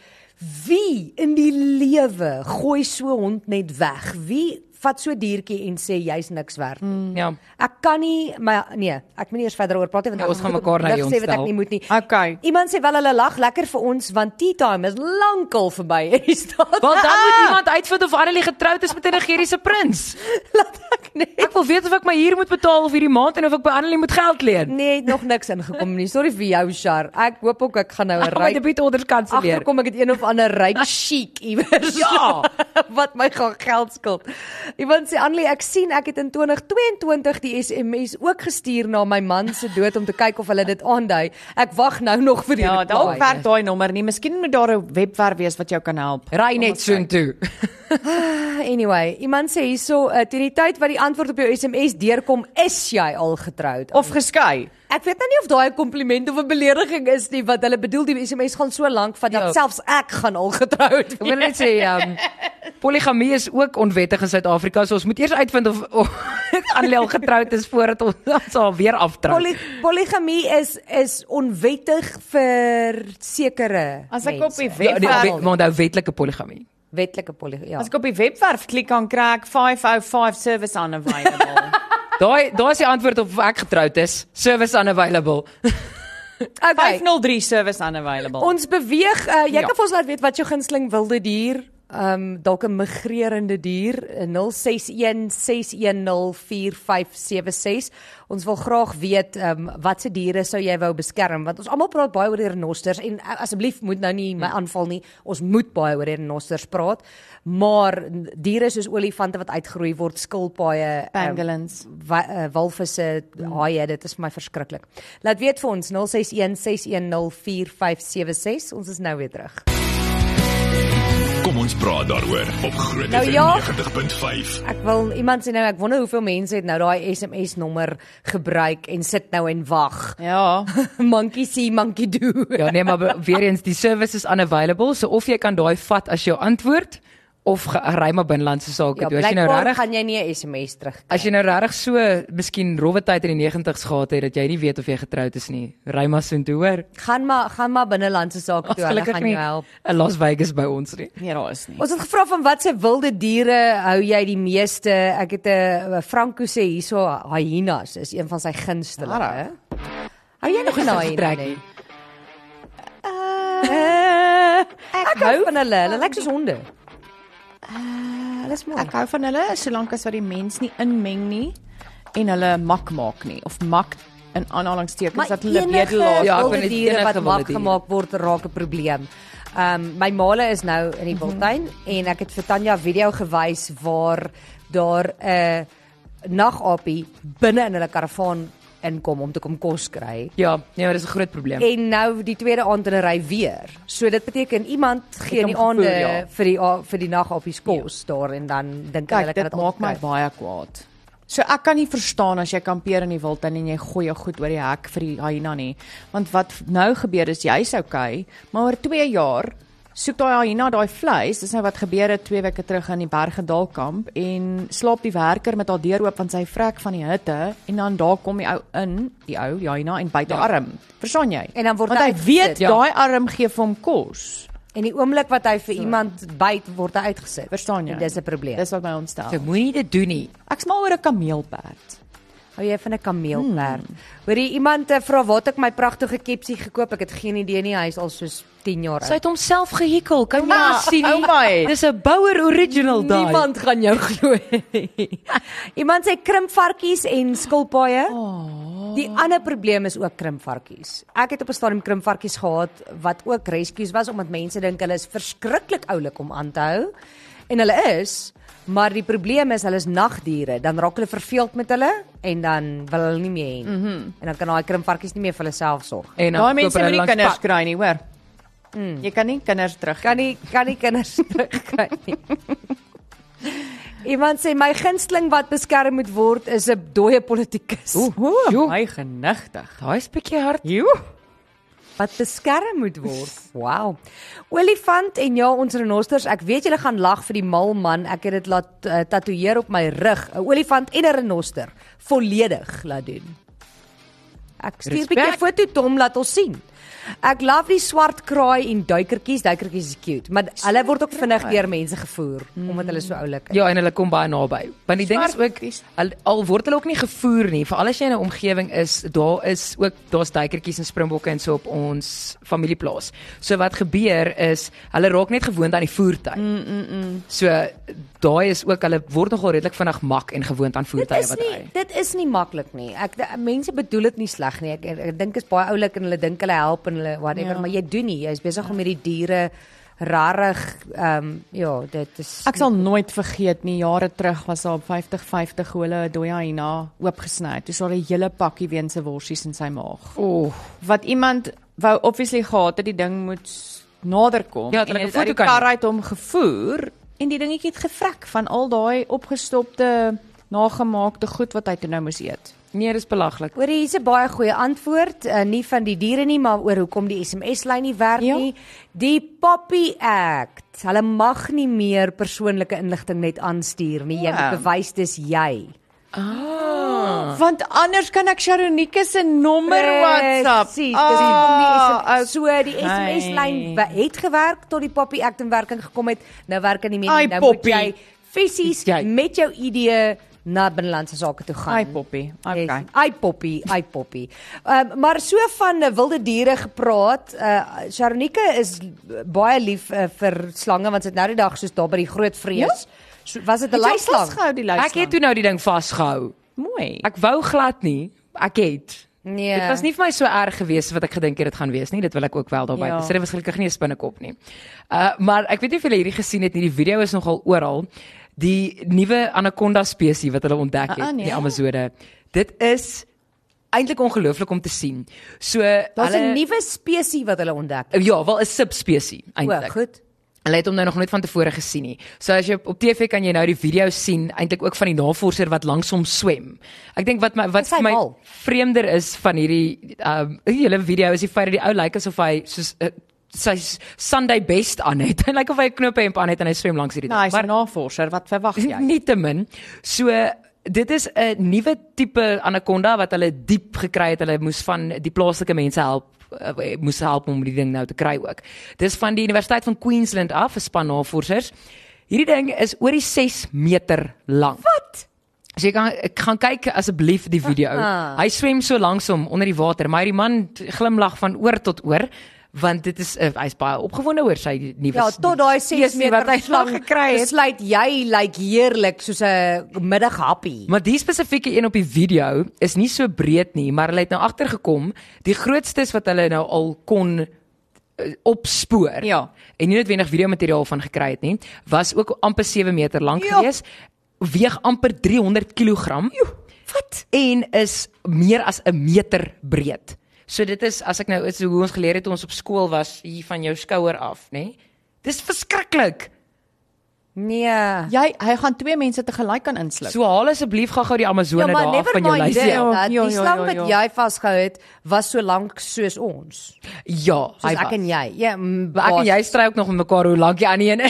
S2: wie in die lewe gooi so 'n hond net weg? Wie vat so 'n diertjie en sê jy's niks werd nie?
S3: Mm.
S4: Ja.
S2: Ek kan nie my nee, ek moet nie eers verder oor praat nie want
S4: Ja,
S2: ek
S4: ons gaan
S2: moet op
S4: mekaar na
S2: lig
S4: die
S2: sê wat ek
S4: ontstel.
S2: nie moet nie.
S3: Okay.
S2: Iemand sê wel hulle lag lekker vir ons want tea time is lankal verby en die staat.
S4: Want dan
S3: Ah,
S4: moet iemand uitvind of Annelie getroud is met 'n Nigeriese prins.
S2: laat ek net
S4: Ek wil weet of ek my huur moet betaal of hierdie maand en of ek by Annelie moet geld leen.
S2: nee, het nog niks ingekom nie. Sorry vir jou, Shar. Ek hoop ook ek gaan nou 'n
S4: Ek gaan my
S2: ryk
S4: debietorders kanselleer.
S2: agterkom ek het een of ander ryk chic iewers.
S4: Ja.
S2: wat my gaan geld skuld. Iemand sê Annelie, ek sien ek het in 2022 die SMS ook gestuur na my man se dood om te kyk of hulle dit aandui. Ek wag nou nog vir die
S3: Ja,
S2: reply.
S3: dalk werk daai nommer nie. Miskien moet daar 'n webwerf wees wat jou kan help.
S4: Ry net soontoe.
S2: Ah, Anyway, iemand sê hierso uh, teen die tyd wat die antwoord op jou SMS deurkom, is jy al getroud.
S3: Of geskei.
S2: Ek weet nou nie of daai 'n kompliment of 'n belediging is nie, want hulle bedoel die SMS gaan so lank vat dat
S4: Ja.
S2: selfs ek gaan al getroud
S4: Ek
S2: wees.
S4: wil net sê
S2: ehm,
S4: um, poligamie is ook onwettig in Suid-Afrika, so ons moet eers uitvind of, of Annelie al getroud is voordat ons ons haar weer aftrou.
S2: Poly, poligamie is is onwettig vir sekere
S3: As ek op
S2: mense.
S3: die
S4: Ja, nee,
S3: webwerf,
S4: wet- maar onthou wetlike poligamie.
S2: wetlike poligamie, ja.
S3: as ek op die webwerf klik kan kry ek 505 service unavailable.
S4: Daai daai is die antwoord op of ek getroud is. Service unavailable.
S2: Okay.
S3: 503 service unavailable.
S2: Ons beweeg, uh, jy
S3: Ja.
S2: kan vir ons laat weet wat jou gunsteling wilde dier, ehm um, dalk 'n migrerende dier, eh, 0616104576. Ons wil graag weet ehm um, watse diere sou jy wou beskerm want ons almal praat baie oor die renosters en uh, asseblief moet nou nie my aanval nie. Ons moet baie oor die renosters praat, maar diere soos olifante wat uitgeroei word, skilpaaie, ehm,
S3: Pangolins.
S2: wa- eh, walvisse, haie, dit is vir my verskriklik. Laat weet vir ons 0616104576. Ons is nou weer terug.
S1: Kom ons praat daaroor op Groot
S2: Nou
S1: FM
S2: ja.
S1: 90.5.
S2: Ek wil iemand sê nou ek wonder hoeveel mense het nou daai SMS nommer gebruik en sit nou en wag.
S3: Ja.
S2: monkey see, monkey do.
S4: Ja, nee, maar be- weer eens die service is unavailable, so of jy kan daai vat as jou antwoord of ge- ry maar binnelandse sake.
S2: Ja,
S4: Ja, as jy nou
S2: blykbaar
S4: regtig
S2: gaan jy nie 'n SMS terug.
S4: as jy nou regtig so miskien rowwe tyd in die 90's gehad het dat jy nie weet of jy getroud is nie, ry maar soontoe hoor.
S2: Gaan maar gaan maar binnelandse sake toe, Ja, hulle
S4: Gelukkig
S2: gaan
S4: nie
S2: jou help.
S4: 'n Las Vegas by ons nie.
S3: Nee, daar is nie.
S2: Ons het gevra van watse wilde diere hou jy die meeste? Ek het 'n Franco sê hierso hyenas is een van sy gunstelinge.
S3: Regtig?
S2: Hou jy nog
S4: Nog
S2: van
S4: eens
S2: daai
S4: vertrek
S2: ene?
S4: nie.
S2: Eh, Ek hou van hulle. Hulle lyk soos honde. Hulle is mooi.
S3: Ek hou van hulle solank as wat die mens nie inmeng nie en hulle mak maak nie of mak in aanhalingstekens dat hulle bedelaar.
S2: Ja,
S4: Ja, ek
S2: ek
S4: vind
S2: wil
S4: dit
S2: diere
S4: enige
S2: wat
S4: wilde
S2: mag
S4: dier.
S2: gemaak word raak 'n probleem. Ehm um, my maale is nou in die
S3: Mhm.
S2: Bultuin mm -hmm. en ek het vir Tanya 'n video gewys waar daar 'n nagapie binne in hulle karavaan inkom om te kom kos kry.
S4: Ja, nee, maar dis 'n groot probleem.
S2: En nou die tweede aand in 'n ry weer. So dit beteken iemand gee in
S4: hom
S2: die aande
S4: gevoer, ja.
S2: vir die a- vir die nagapies kos daar en dan dink hulle
S3: Kyk,
S2: kan
S3: dit
S2: dit
S3: maak my
S2: opkry.
S3: baie kwaad. So ek kan nie verstaan as jy kampeer in die wildtuin en jy gooi jou goed oor die hek vir die hyena nie, want wat nou gebeur is jy's okay, maar oor 2 jaar soek daai hyena daai vleis. Dis nou wat gebeur het 2 weke terug in die Bergedal kamp en slaap die werker met haar deur oop want sy vrek van die hitte en dan daar kom die ou in, die ou die hyena en byt haar arm. Verstaan jy?
S2: Ja. En dan word
S3: want
S2: hy
S3: hy weet
S2: uitgesit, ja.
S3: daai arm gee vir hom kos.
S2: En die oomblik wat hy vir iemand byt word hy uitgesit.
S3: Verstaan jy?
S2: En dis 'n probleem.
S3: Dis wat my ontstel.
S4: So moenie dit doen nie.
S3: Ek's mal oor 'n kameelperd.
S2: Hou jy van 'n kameelperd? Hmm. Hoorie iemand eh, vra waar het ek my pragtige kepsie gekoop? Ek het geen idee nie. Hy is al soos 10 jaar
S4: Sy
S2: oud.
S4: het homself gehikkel. Kan jy
S3: Ja,
S4: dit sien? nie?
S3: oh my.
S4: Dis 'n Bouwer original daai.
S2: Niemand gaan jou glo. nie. iemand sê krimpvarkies en skilpaaie. Die ander probleem is ook krimpvarkies. Ek het op 'n stadium krimpvarkies gehad wat ook rescues was omdat mense dink hulle is verskriklik oulik om aan te hou en hulle is, maar die probleem is hulle is nagdiere, dan raak hulle verveeld met hulle en dan wil hulle nie meer hê nie. Mm -hmm. En dan kan daai krimpvarkies nie meer vir hulle self sorg.
S4: En
S3: Daai
S4: dan nou koop
S3: Nou, mense
S4: hulle
S3: moet nie
S4: langs
S3: kinders
S4: pad. Hmm. Ja,
S3: kry nie, hoor. Jy kan nie kinders terug
S2: Kan nie kan nie kinders terugkry nie. Iemand sê my gunsteling wat beskerm moet word is 'n dooie politikus.
S4: Jo.
S3: hy genigtig.
S4: Daai is bietjie hard.
S3: Jo.
S2: Wat beskerm moet word. Wow. Olifant en ja, ons renosters, ek weet julle gaan lag vir die mal man. Ek het dit laat uh, tatoeëer op my rug, 'n olifant en 'n renoster, volledig laat doen. Ek stuur 'n bietjie
S4: Respek.
S2: foto Tom laat ons sien. Ek love die swart kraai en duikertjies. Duikertjies is cute, maar hulle word ook vinnig deur mense gevoer omdat hulle so oulik is.
S4: Ja, en hulle kom baie naby. Want die ding is ook
S3: Swarties.
S4: al, al word hulle ook nie gevoer nie. Veral as jy in 'n omgewing is, daar is ook daar's duikertjies en springbokke en so op ons familieplaas. So wat gebeur is, hulle raak net gewoond aan die voertuie. Mm, mm, mm. So daai is ook hulle word nogal redelik vinnig mak en gewoond aan voertuie wat
S2: Dit is
S4: ry.
S2: nie dit is nie maklik nie. Ek d- mense bedoel dit nie sleg nie. Ek, ek, ek dink is baie oulik en hulle dink hulle help en hulle whatever,
S3: Ja.
S2: ja. maar jy doen nie. Jy's besig om hierdie diere rarig ehm um, ja, dit is
S3: Ek sal nooit vergeet nie, jare terug was daar op 50-50 hoe hulle 'n dooie hyena oopgesny het. Toe is daar 'n hele pakkie weense worsies in sy maag.
S4: Ooh.
S3: Wat iemand wou obviously gehad het, die ding moet s- nader kom.
S4: Ja, het
S3: en
S4: hulle
S3: het
S4: een
S3: uit die
S4: foto kan
S3: kar uit hom gevoer en die dingetjie het gevrek van al daai opgestopte nagemaakte goed wat hy toe nou moes eet.
S4: Nee, dis belaglik.
S2: Oor hier's 'n baie goeie antwoord, uh, nie van die diere nie, maar oor hoekom die SMS-lyn nie werk
S3: Ja.
S2: nie. Die Poppy Act. Hulle mag nie meer persoonlike inligting net aanstuur nie. Jy
S3: Ja.
S2: moet bewys dis jy.
S3: Want anders kan ek Sharonike se nommer WhatsApp.
S2: Presies, Eh,
S4: Ah,
S2: dis hoekom
S3: Ah,
S2: die SMS so die
S3: okay.
S2: SMS lyn be- het gewerk tot die Poppy Act in werking gekom het. Nou werk hy nie meer
S3: Ai,
S2: nie. Nou
S3: Poppy.
S2: moet jy fisies
S4: Jy.
S2: met jou idee na binnelandse sake toe gaan.
S3: Ai Poppy. Okay.
S2: Yes, ai Poppy, ai Poppy. Um, maar so van eh, wilde diere gepraat, uh, Sharonike is l- baie lief uh, vir slange want dit nou die dag soos daar by die groot vrees. Ja? So, was dit 'n leislang?
S3: Vasgehou die
S4: Ek het toe nou die ding vasgehou.
S3: mooi.
S4: Ek wou glad nie. Ek het
S2: Nee.
S4: Dit was nie vir my so erg geweest wat ek gedink het dit gaan wees nie. Dit wil ek ook wel daarby.
S3: Ja.
S4: Ja. So dit was gelukkig nie 'n spinnekop nie. Uh maar ek weet nie of julle hierdie gesien het nie. Die video is nogal oral. Die nuwe anaconda spesies wat hulle ontdek het
S3: Ah, ah,
S4: in
S3: nee.
S4: die Amazone. Dit is eintlik ongelooflik om te sien. So
S2: Daar's 'n
S4: hulle-
S2: nuwe spesies wat hulle ontdek het.
S4: ja, wel 'n subspesies
S2: O,
S4: eintlik.
S2: goed.
S4: Hulle het hom nou nog nooit van tevore gesien nie. So as jy op, op TV kan jy nou die video sien eintlik ook van die navorser wat langs hom swem. Ek dink wat my wat
S2: Is hy
S4: vir my
S2: mal?
S4: vreemder is van hierdie ehm um, hele video is die feit dat die ou lyk asof hy soos uh, sy s- Sunday best aan het. Hy lyk of hy 'n knophemp aan het en hy swem langs hierdie
S3: nou,
S4: ding.
S3: hy's 'n navorser. Wat verwag
S4: Maar
S3: jy?
S4: nietemin, so dit is 'n nuwe tipe anaconda wat hulle diep gekry het. Hulle moes van die plaaslike mense help eh, moes help om die ding nou te kry ook. Dis van die Universiteit van Queensland af, 'n span navorsers. Hierdie ding is oor die 6 meter lank. Wat? So jy kan ek gaan kyk asseblief die video.
S2: Ah.
S4: Hy swem so langs hom onder die water, maar die man glimlag van oor tot oor want dit is uh, hy's baie opgewonde oor sy nuwe
S2: Ja, tot daai 6
S4: spesies wat
S2: meter
S4: hy
S2: slang
S4: gekry het.
S2: Besluit jy lyk like, heerlik soos 'n middaghappie.
S4: Maar die spesifieke een op die video is nie so breed nie, maar hulle het nou agtergekom, die grootstes wat hulle nou al kon eh, opspoor.
S3: Ja.
S4: En nie noodwendig videomateriaal van gekry het nie, was ook amper 7 meter lank
S2: Ja.
S4: gewees, weeg amper 300 kg. Wat? En is meer as 'n meter breed. So dit is as ek nou is hoe ons geleer het toe ons op skool was hier van jou skouer af, nê? Dis verskriklik.
S2: Nee.
S3: Jy hy gaan twee mense te gelyk kan insluk.
S4: So haal asseblief gou-gou die
S2: Ja,
S4: Amazone
S2: maar
S4: daar af
S2: never
S4: van jou
S2: mind.
S4: lys.
S2: Dit,
S3: Ja,
S2: dat
S3: ja,
S2: die
S3: ja,
S2: slang
S3: ja,
S2: wat
S3: ja.
S2: jy vasgehou het, was so lank soos ons.
S4: Ja,
S2: Soos
S4: hy
S2: ek
S4: was.
S2: en jy. Ja, mm,
S4: Ek en
S2: baas.
S4: jy stry ook nog met mekaar hoe lank die ander een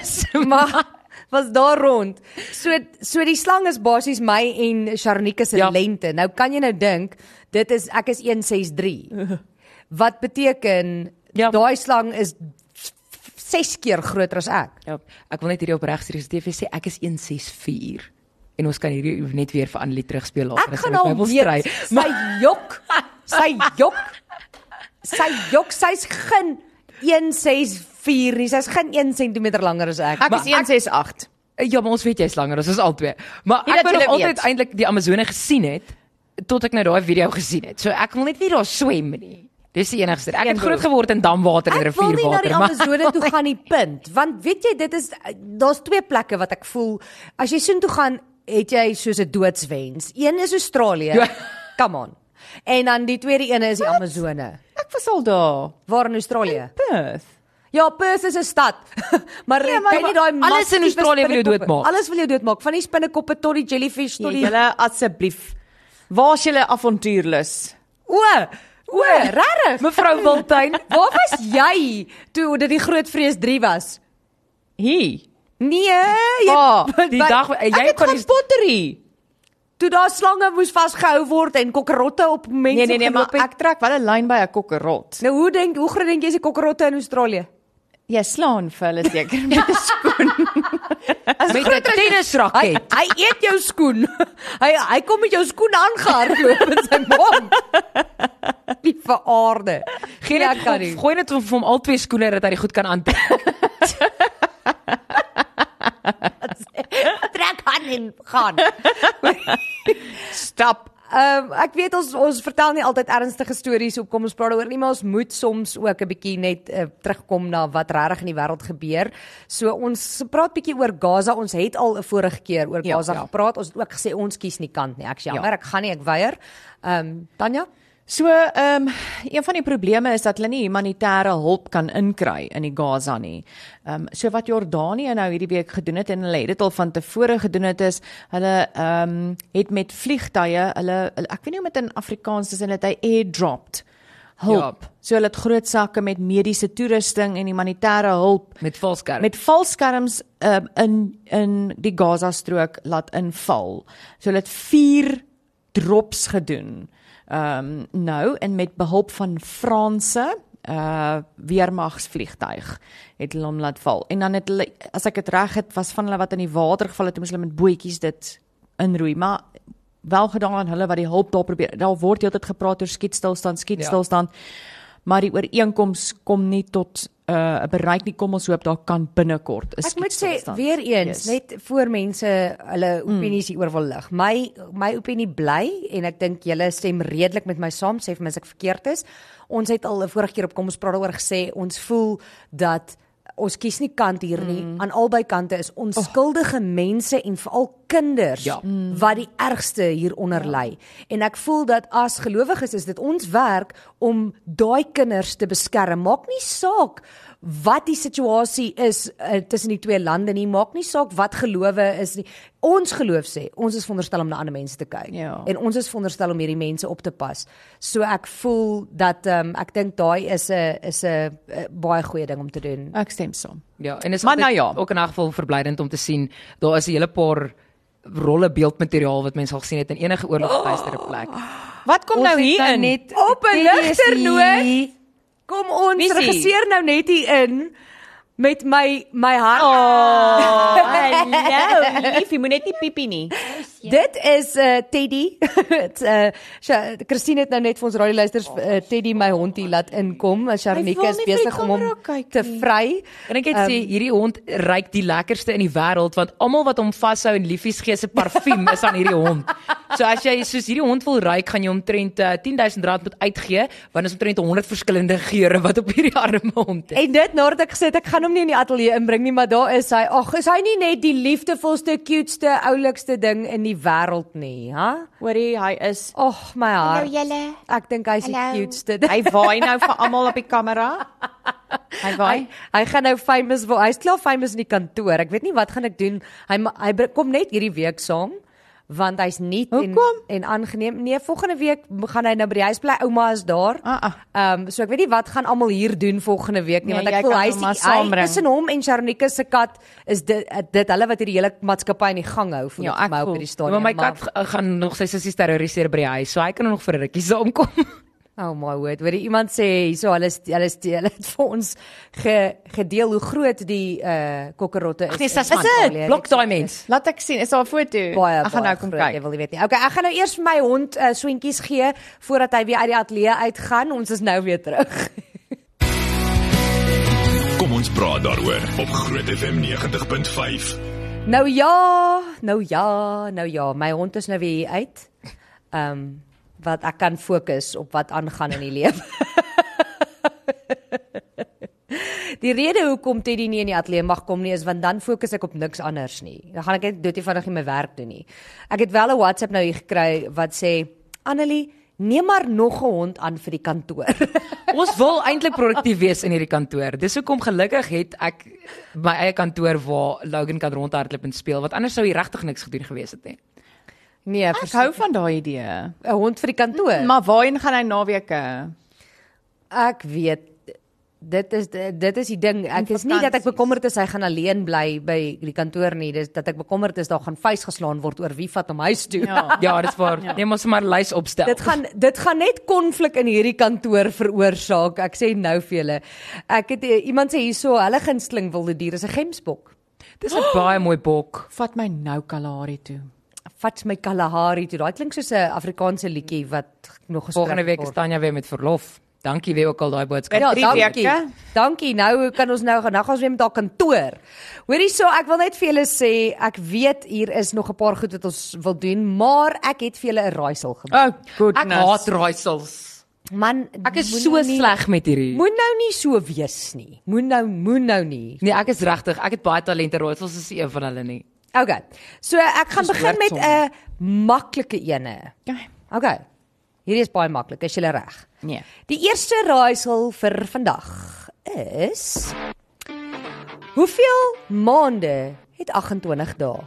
S4: is.
S2: maar was daar rond. So so die slang is basies my en Sharnike se
S4: Ja.
S2: lente. Nou kan jy nou dink, dit is ek is 163. Wat beteken
S4: Ja.
S2: daai slang is 6 keer groter as ek.
S4: ja, ek wil net hierdie opreg serieus TV sê ek is 164 en ons kan hierdie net weer vir Annelie terugspeel later
S2: Ek gaan
S4: ons
S2: al
S4: Bybel stry.
S2: weet, sy jok, sy jok. Sy jok, sy's geen 164 nie. Sy's geen 1 cm langer as ek.
S3: Ek is 168.
S4: Ja, maar ons weet jy's langer as ons albei. Maar
S3: Nie
S4: ek
S3: dat
S4: wou
S3: julle
S4: nog altyd
S3: weet.
S4: eintlik die Amazone gesien het tot ek nou daai video gesien het. So ek wil net nie daar swem nie. Dis die enigste. Ek
S3: Een
S4: het
S3: doel.
S4: groot geword in damwater en
S2: Ek wil nie na die
S4: rivierwater, maar
S2: Amazone toe gaan nie, punt. Want weet jy, dit is daar's twee plekke wat ek voel as jy soontoe gaan, het jy soos 'n doodswens. Een is Australië.
S4: Ja.
S2: Come on. En dan die tweede een is die Amazone.
S3: Ek was al daar.
S2: Waar in Australië?
S3: Perth.
S2: Ja, Perth is 'n stad. maar
S3: Nee,
S2: ja,
S3: maar-
S2: maar, nie daai
S4: alles in
S2: massiewe
S4: Australië wil jou
S2: spinnekoppe.
S4: doodmaak.
S2: Alles wil jou doodmaak, van die spinnekoppe tot die jellyfish tot
S3: Tot
S2: die
S3: Nee, julle asseblief. Waar's julle avontuurlus?
S2: O, o, regtig?
S4: Mevrou Wiltuin,
S2: Waar was jy toe dit die Groot Vrees 3 was?
S3: Hier.
S2: Nee, jy
S3: Waar?
S4: die dag jy
S3: Ek het
S4: kon
S3: gaan
S4: nie
S3: pottery.
S2: toe daar slange moes vasgehou word en kokkerotte op mense
S3: Nee nee nee, maar
S2: geloop het.
S3: ek trek wel 'n lyn by 'n kokkerot.
S2: Nou hoe dink hoe groot dink jy is die kokkerotte in Australië?
S3: Jy slaan vir hulle seker met 'n skoen.
S4: met 'n
S2: Hy
S4: tennisraket.
S2: hy eet jou skoen. hy hy kom met jou skoen aangehardloop in sy mond. Die verarde.
S4: Geen
S2: Nee,
S4: ja,
S2: ek
S4: kan nie. Gooi net vir hom al twee skoene dat hy dit goed kan aantrek.
S2: Trek aan en gaan.
S3: Stap.
S2: Ehm um, ek weet ons ons vertel nie altyd ernstige stories op kom ons praat daaroor nie, maar ons moet soms ook 'n bietjie net uh, terugkom na wat regtig in die wêreld gebeur. So ons praat bietjie oor Gaza. Ons het al 'n vorige keer oor
S3: Ja,
S2: Gaza
S3: ja.
S2: gepraat. Ons het ook gesê ons kies nie kant nie. Ek is jammer,
S3: Ja.
S2: ek gaan nie, ek weier. Ehm um, Tanya?
S3: So, ehm um, een van die probleme is dat hulle nie humanitêre hulp kan inkry in die Gaza nie. Ehm um, so wat Jordanië nou hierdie week gedoen het en hulle het dit al van tevore gedoen het is hulle ehm um, het met vliegtye hulle, hulle ek weet nie hoe om dit in Afrikaans te sê dat hy airdropped hulp.
S4: Ja.
S3: Ja. So hulle het groot sakke met mediese toerusting en humanitêre hulp
S4: Met valskerm.
S3: met valskerms um, in in die Gaza strook laat inval. So hulle het 4 drops gedoen. Ehm um, nou en met behulp van Franse uh weermagsvliegtyg het hulle hom laat val. En dan het hulle as ek dit reg het was van hulle wat in die water geval het, toe moes hulle met bootjies dit inroei, maar wel gedaan aan hulle wat die hulp daar probeer. Daar word heeltyd gepraat oor skietstilstand, skietstilstand. Ja. Maar die ooreenkoms kom nie tot 'n uh, bereik nie. Kom ons hoop daar kan binnekort 'n
S2: Ek moet sê
S3: skietstilstand.
S2: weer eens, yes. Mm.
S3: wees.
S2: net voor mense hulle opinies hieroor wil lig. My my opinie bly en ek dink julle stem redelik met my saam, sê vir my as ek verkeerd is. Ons het al 'n vorige keer op kom ons praat daaroor gesê, ons voel dat ons kies nie kant hier nie. Mm. Aan albei kante is onskuldige oh. mense en veral kinders
S4: Ja.
S2: mm. Ja. wat die ergste hieronder ly. En ek voel dat as gelowiges is dit ons werk om daai kinders te beskerm. Maak nie saak wat die situasie is uh, tussen die twee lande nie. Maak nie saak wat gelowe is nie. Ons geloof sê ons is veronderstel om na ander mense te kyk.
S3: Ja.
S2: En ons is veronderstel om hierdie mense op te pas. So ek voel dat um, ek dink daai is 'n is 'n uh, baie goeie ding om te doen.
S3: ek stem saam.
S4: Ja, en is
S3: Maar
S4: altyd
S3: nou ja.
S4: ook in 'n geval verblydend om te sien. Daar is 'n hele paar rolle beeldmateriaal wat mense al gesien het in enige oorlogstuistere plek.
S3: Wat kom
S4: Ons
S3: nou
S4: het
S3: hier
S4: nou
S3: in?
S4: net-
S2: Op 'n ligter noot. Kom ons
S3: Missie.
S2: regisseer nou net hier in met my my hart.
S3: Oh, hallo. Lief, jy moet net nie piepie nie.
S2: Ja. Dit is uh Teddy. Dit's uh Sha- Christine het nou net vir ons radioluisters uh, Teddy my hondie laat inkom. Uh, Sharnika
S3: wil
S2: is
S3: nie vir die
S2: besig om hom
S3: kamera kyk
S2: te
S3: nie.
S2: vry.
S4: En ek het sê hierdie hond ruik die lekkerste in die wêreld want almal wat hom vashou en liefies gee se parfuum is aan hierdie hond. So as jy soos hierdie hond wil ruik, gaan jy omtrent uh, R10000 moet uitgee want is omtrent 100 verskillende geure wat op hierdie arme hond is.
S2: En dit nadat ek gesê het ek gaan hom nie in die ateljee inbring nie, maar daar is hy. Ag, is hy nie net die liefdevolste, cutest, oulikste ding in die wêreld nie, ha?
S3: Hoorie, hy is
S2: Ag, my
S5: Hallo
S2: hart.
S5: julle.
S2: Ek dink hy's die
S5: Hallo.
S2: cutest.
S3: hy waai nou vir almal op die kamera. Hy waai.
S2: Hy hy gaan nou famous word. Hy's klaar famous in die kantoor. Ek weet nie wat gaan ek doen. Hy ma- hy br- kom net hierdie week saam want hy's nie en
S3: Hoekom?
S2: en aangeneem. Nee, volgende week gaan hy nou by die huis bly. Ouma is daar.
S3: Ah, ah.
S2: Ehm so ek weet nie wat gaan almal hier doen volgende week nie
S3: Nee,
S2: want ek
S3: jy
S2: voel
S3: kan
S2: hy's
S3: hom
S2: die-
S3: maar
S2: hy
S3: saambring.
S2: tussen hom en Sharonika se kat is dit dit hulle wat hierdie hele maatskappy in die gang hou vir
S3: Ja, ek
S2: my op
S3: voel.
S2: hierdie
S4: Ja,
S2: stadium.
S4: maar my kat g- gaan nog sy sissies terroriseer by die huis, so hy kan er nog vir 'n rukkie saamkom.
S2: Oh my word, weet jy iemand sê hierso hulle is- hulle is- hulle het vir ons ge, gedeel hoe groot die eh uh, kokkerotte is.
S4: Nee,
S2: in
S4: sas man.
S2: Italië.
S4: Blok daai mens.
S3: Laat ek sien, is daar 'n foto?
S2: baie
S3: Ek gaan nou
S2: baie
S3: kom
S2: groot, Jy
S3: kyk.
S2: wil nie weet nie. Okay, ek gaan nou eers vir my hond uh, swentjies gee voordat hy weer uit die ateljee uitgaan. Ons is nou weer terug.
S1: Kom ons praat daaroor op Groot FM 90.5.
S2: Nou ja, nou ja, nou ja, my hond is nou weer hier uit. Ehm um, wat ek kan fokus op wat aangaan in die lewe. Die rede hoekom Teddy nie in die ateljee mag kom nie is want dan fokus ek op niks anders nie. Dan gaan ek net doodie vinnig nie my werk doen nie. Ek het wel 'n WhatsApp nou hier gekry wat sê Annelie, neem maar nog 'n hond aan vir die kantoor.
S4: Ons wil eintlik produktief wees in hierdie kantoor. Dis hoekom gelukkig het ek my eie kantoor waar Logan kan rondhardloop en speel, want anders sou hier regtig niks gedoen gewees het nie.
S2: Nee,
S3: Ek hou van daai idee.
S2: 'n hond vir die kantoor.
S3: Maar waarheen gaan hy naweke?
S2: Ek weet dit is dit is die ding. Ek
S3: In
S2: is nie dat ek
S3: vakansies.
S2: bekommerd is hy gaan alleen bly by die kantoor nie. Dis dat ek bekommerd is daar gaan vuis geslaan word oor wie vat hom huis toe.
S3: Ja.
S4: Ja, dis waar. Ja. Neem ons maar 'n lys opstel.
S2: Dit gaan dit gaan net konflik in hierdie kantoor veroorsaak. Ek sê nou vir julle. Ek het eh, iemand sê hierso, hulle gunsteling wilde dier is 'n gemsbok.
S4: Dis 'n baie mooi bok.
S3: Vat my nou Kalahari toe.
S2: Vat my Kalahari toe. Daai klink soos 'n Afrikaanse liedjie wat nog geskryf
S4: Volgende week
S2: word.
S4: is Tanya weer met verlof. Dankie wie ook al daai boodskap.
S3: Ja,
S4: Ja,
S3: drie
S2: dankie.
S3: weke.
S2: Dankie. Nou kan ons nou gaan nou gaan ons weer met haar kantoor. Hoorie so, ek wil net vir julle sê, ek weet hier is nog 'n paar goed wat ons wil doen, maar ek het vir julle 'n raaisel gemaak.
S3: Oh,
S4: ek
S3: goodness.
S4: haat raaisels.
S2: Man,
S4: Oh, Ek is
S2: moen
S4: so
S2: nou nie-
S4: sleg met hierdie.
S2: Moen nou nie so wees nie. Moen nou moen nou nie.
S4: Nee, ek is regtig. Ek het baie talente. Raaisels is nie een van hulle nie.
S2: Okay. So ek gaan
S3: Soos
S2: begin met
S3: woordsonde.
S2: 'n maklike ene.
S3: Ja,
S2: Okay. Hierdie is baie maklik. Is julle reg?
S3: Nee.
S2: Die eerste raaisel vir vandag is Hoeveel maande het 28 dae?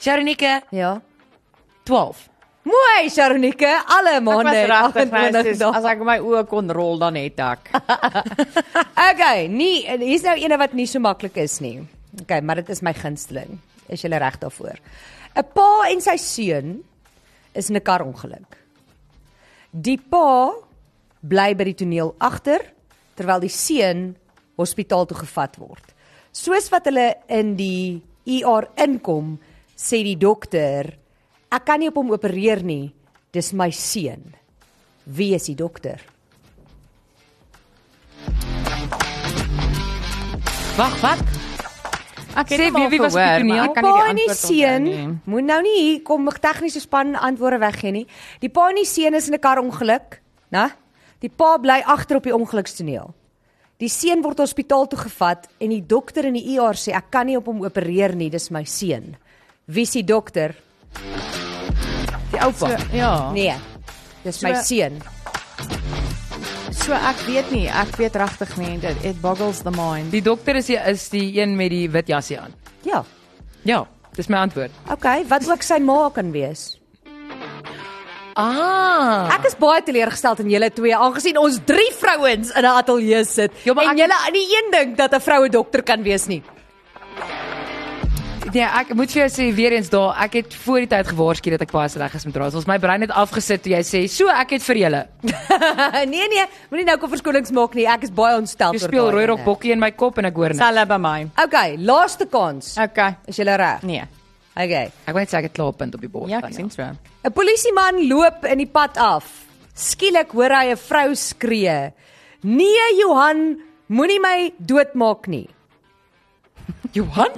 S4: Sharonike
S2: Ja.
S4: 12.
S2: Mooi, Sharonike, alle
S3: Ek
S2: maande
S3: was
S2: het
S3: regtig nou
S2: 28
S3: soos, as
S2: dae.
S3: ek my oë kon rol dan het ek.
S2: Okay, nie hier's nou eene wat nie so maklik is nie. Okay, maar dit is my gunsteling. Is jy reg daarvoor? 'n Pa en sy seun is in 'n karongeluk. Die pa bly by die toneel agter terwyl die seun hospitaal toe gevat word. Soos wat hulle in die ER inkom, sê die dokter, ek kan nie op hom opereer nie. Dis my seun. Wie is die dokter?
S4: Wag, wat?
S3: Ek
S4: Sê,
S3: hom al
S4: wie- wie was op die
S3: gehoor,
S4: toneel?
S3: maar ek kan
S2: pa
S3: nie
S2: en
S3: die
S2: die
S3: antwoord onthou
S2: seun
S3: nie.
S2: moet nou nie hier kom met tegniese span antwoorde weggee nie. Die pa en die seun is in 'n karongeluk, né? Die pa bly agter op die ongelukstoneel. Die seun word hospitaal toe gevat en die dokter in die ER sê ek kan nie op hom opereer nie, dis my seun. Wie is die dokter?
S4: Die
S3: So,
S4: oupa.
S3: ja.
S2: Nee. Dis my
S3: So-
S2: seun.
S3: So ek weet nie, ek weet regtig nie. Dit it boggles the mind.
S4: Die dokter is die, is die een met die wit jasie aan.
S2: Ja.
S4: Ja, dis my antwoord.
S2: Okay, wat ook sy ma kan wees.
S4: Ah.
S2: Ek is baie teleurgesteld in julle twee aangesien ons drie vrouens in 'n ateljee sit
S4: Ja, maar
S2: en
S4: ek-
S2: julle aan die een ding dat 'n vroue dokter kan wees nie.
S4: Ja, ek moet vir jou sê weer eens daar, ek het voor die tyd gewaarsku dat ek baie sleg is met raaisels. My brein het afgesit toe jy sê, "So, ek het vir julle."
S2: nee nee, moenie nou kom verskonings maak nie. Ek is baie ontstel
S4: Jy speel
S2: daai
S4: rooi rok
S2: ene.
S4: bokkie in my kop en ek hoor niks.
S3: Sal by my.
S2: Okay, laaste kans.
S3: Okay.
S2: Is jy reg?
S3: Nee.
S2: Okay.
S4: Ek weet ek het klaar 'n punt op die bord
S3: Ja,
S4: van
S3: ek sien
S4: jou.
S3: so.
S2: 'n Polisieman loop in die pad af. Skielik hoor hy 'n vrou skree: "Nee, Johan, moenie my doodmaak nie.
S4: Johan,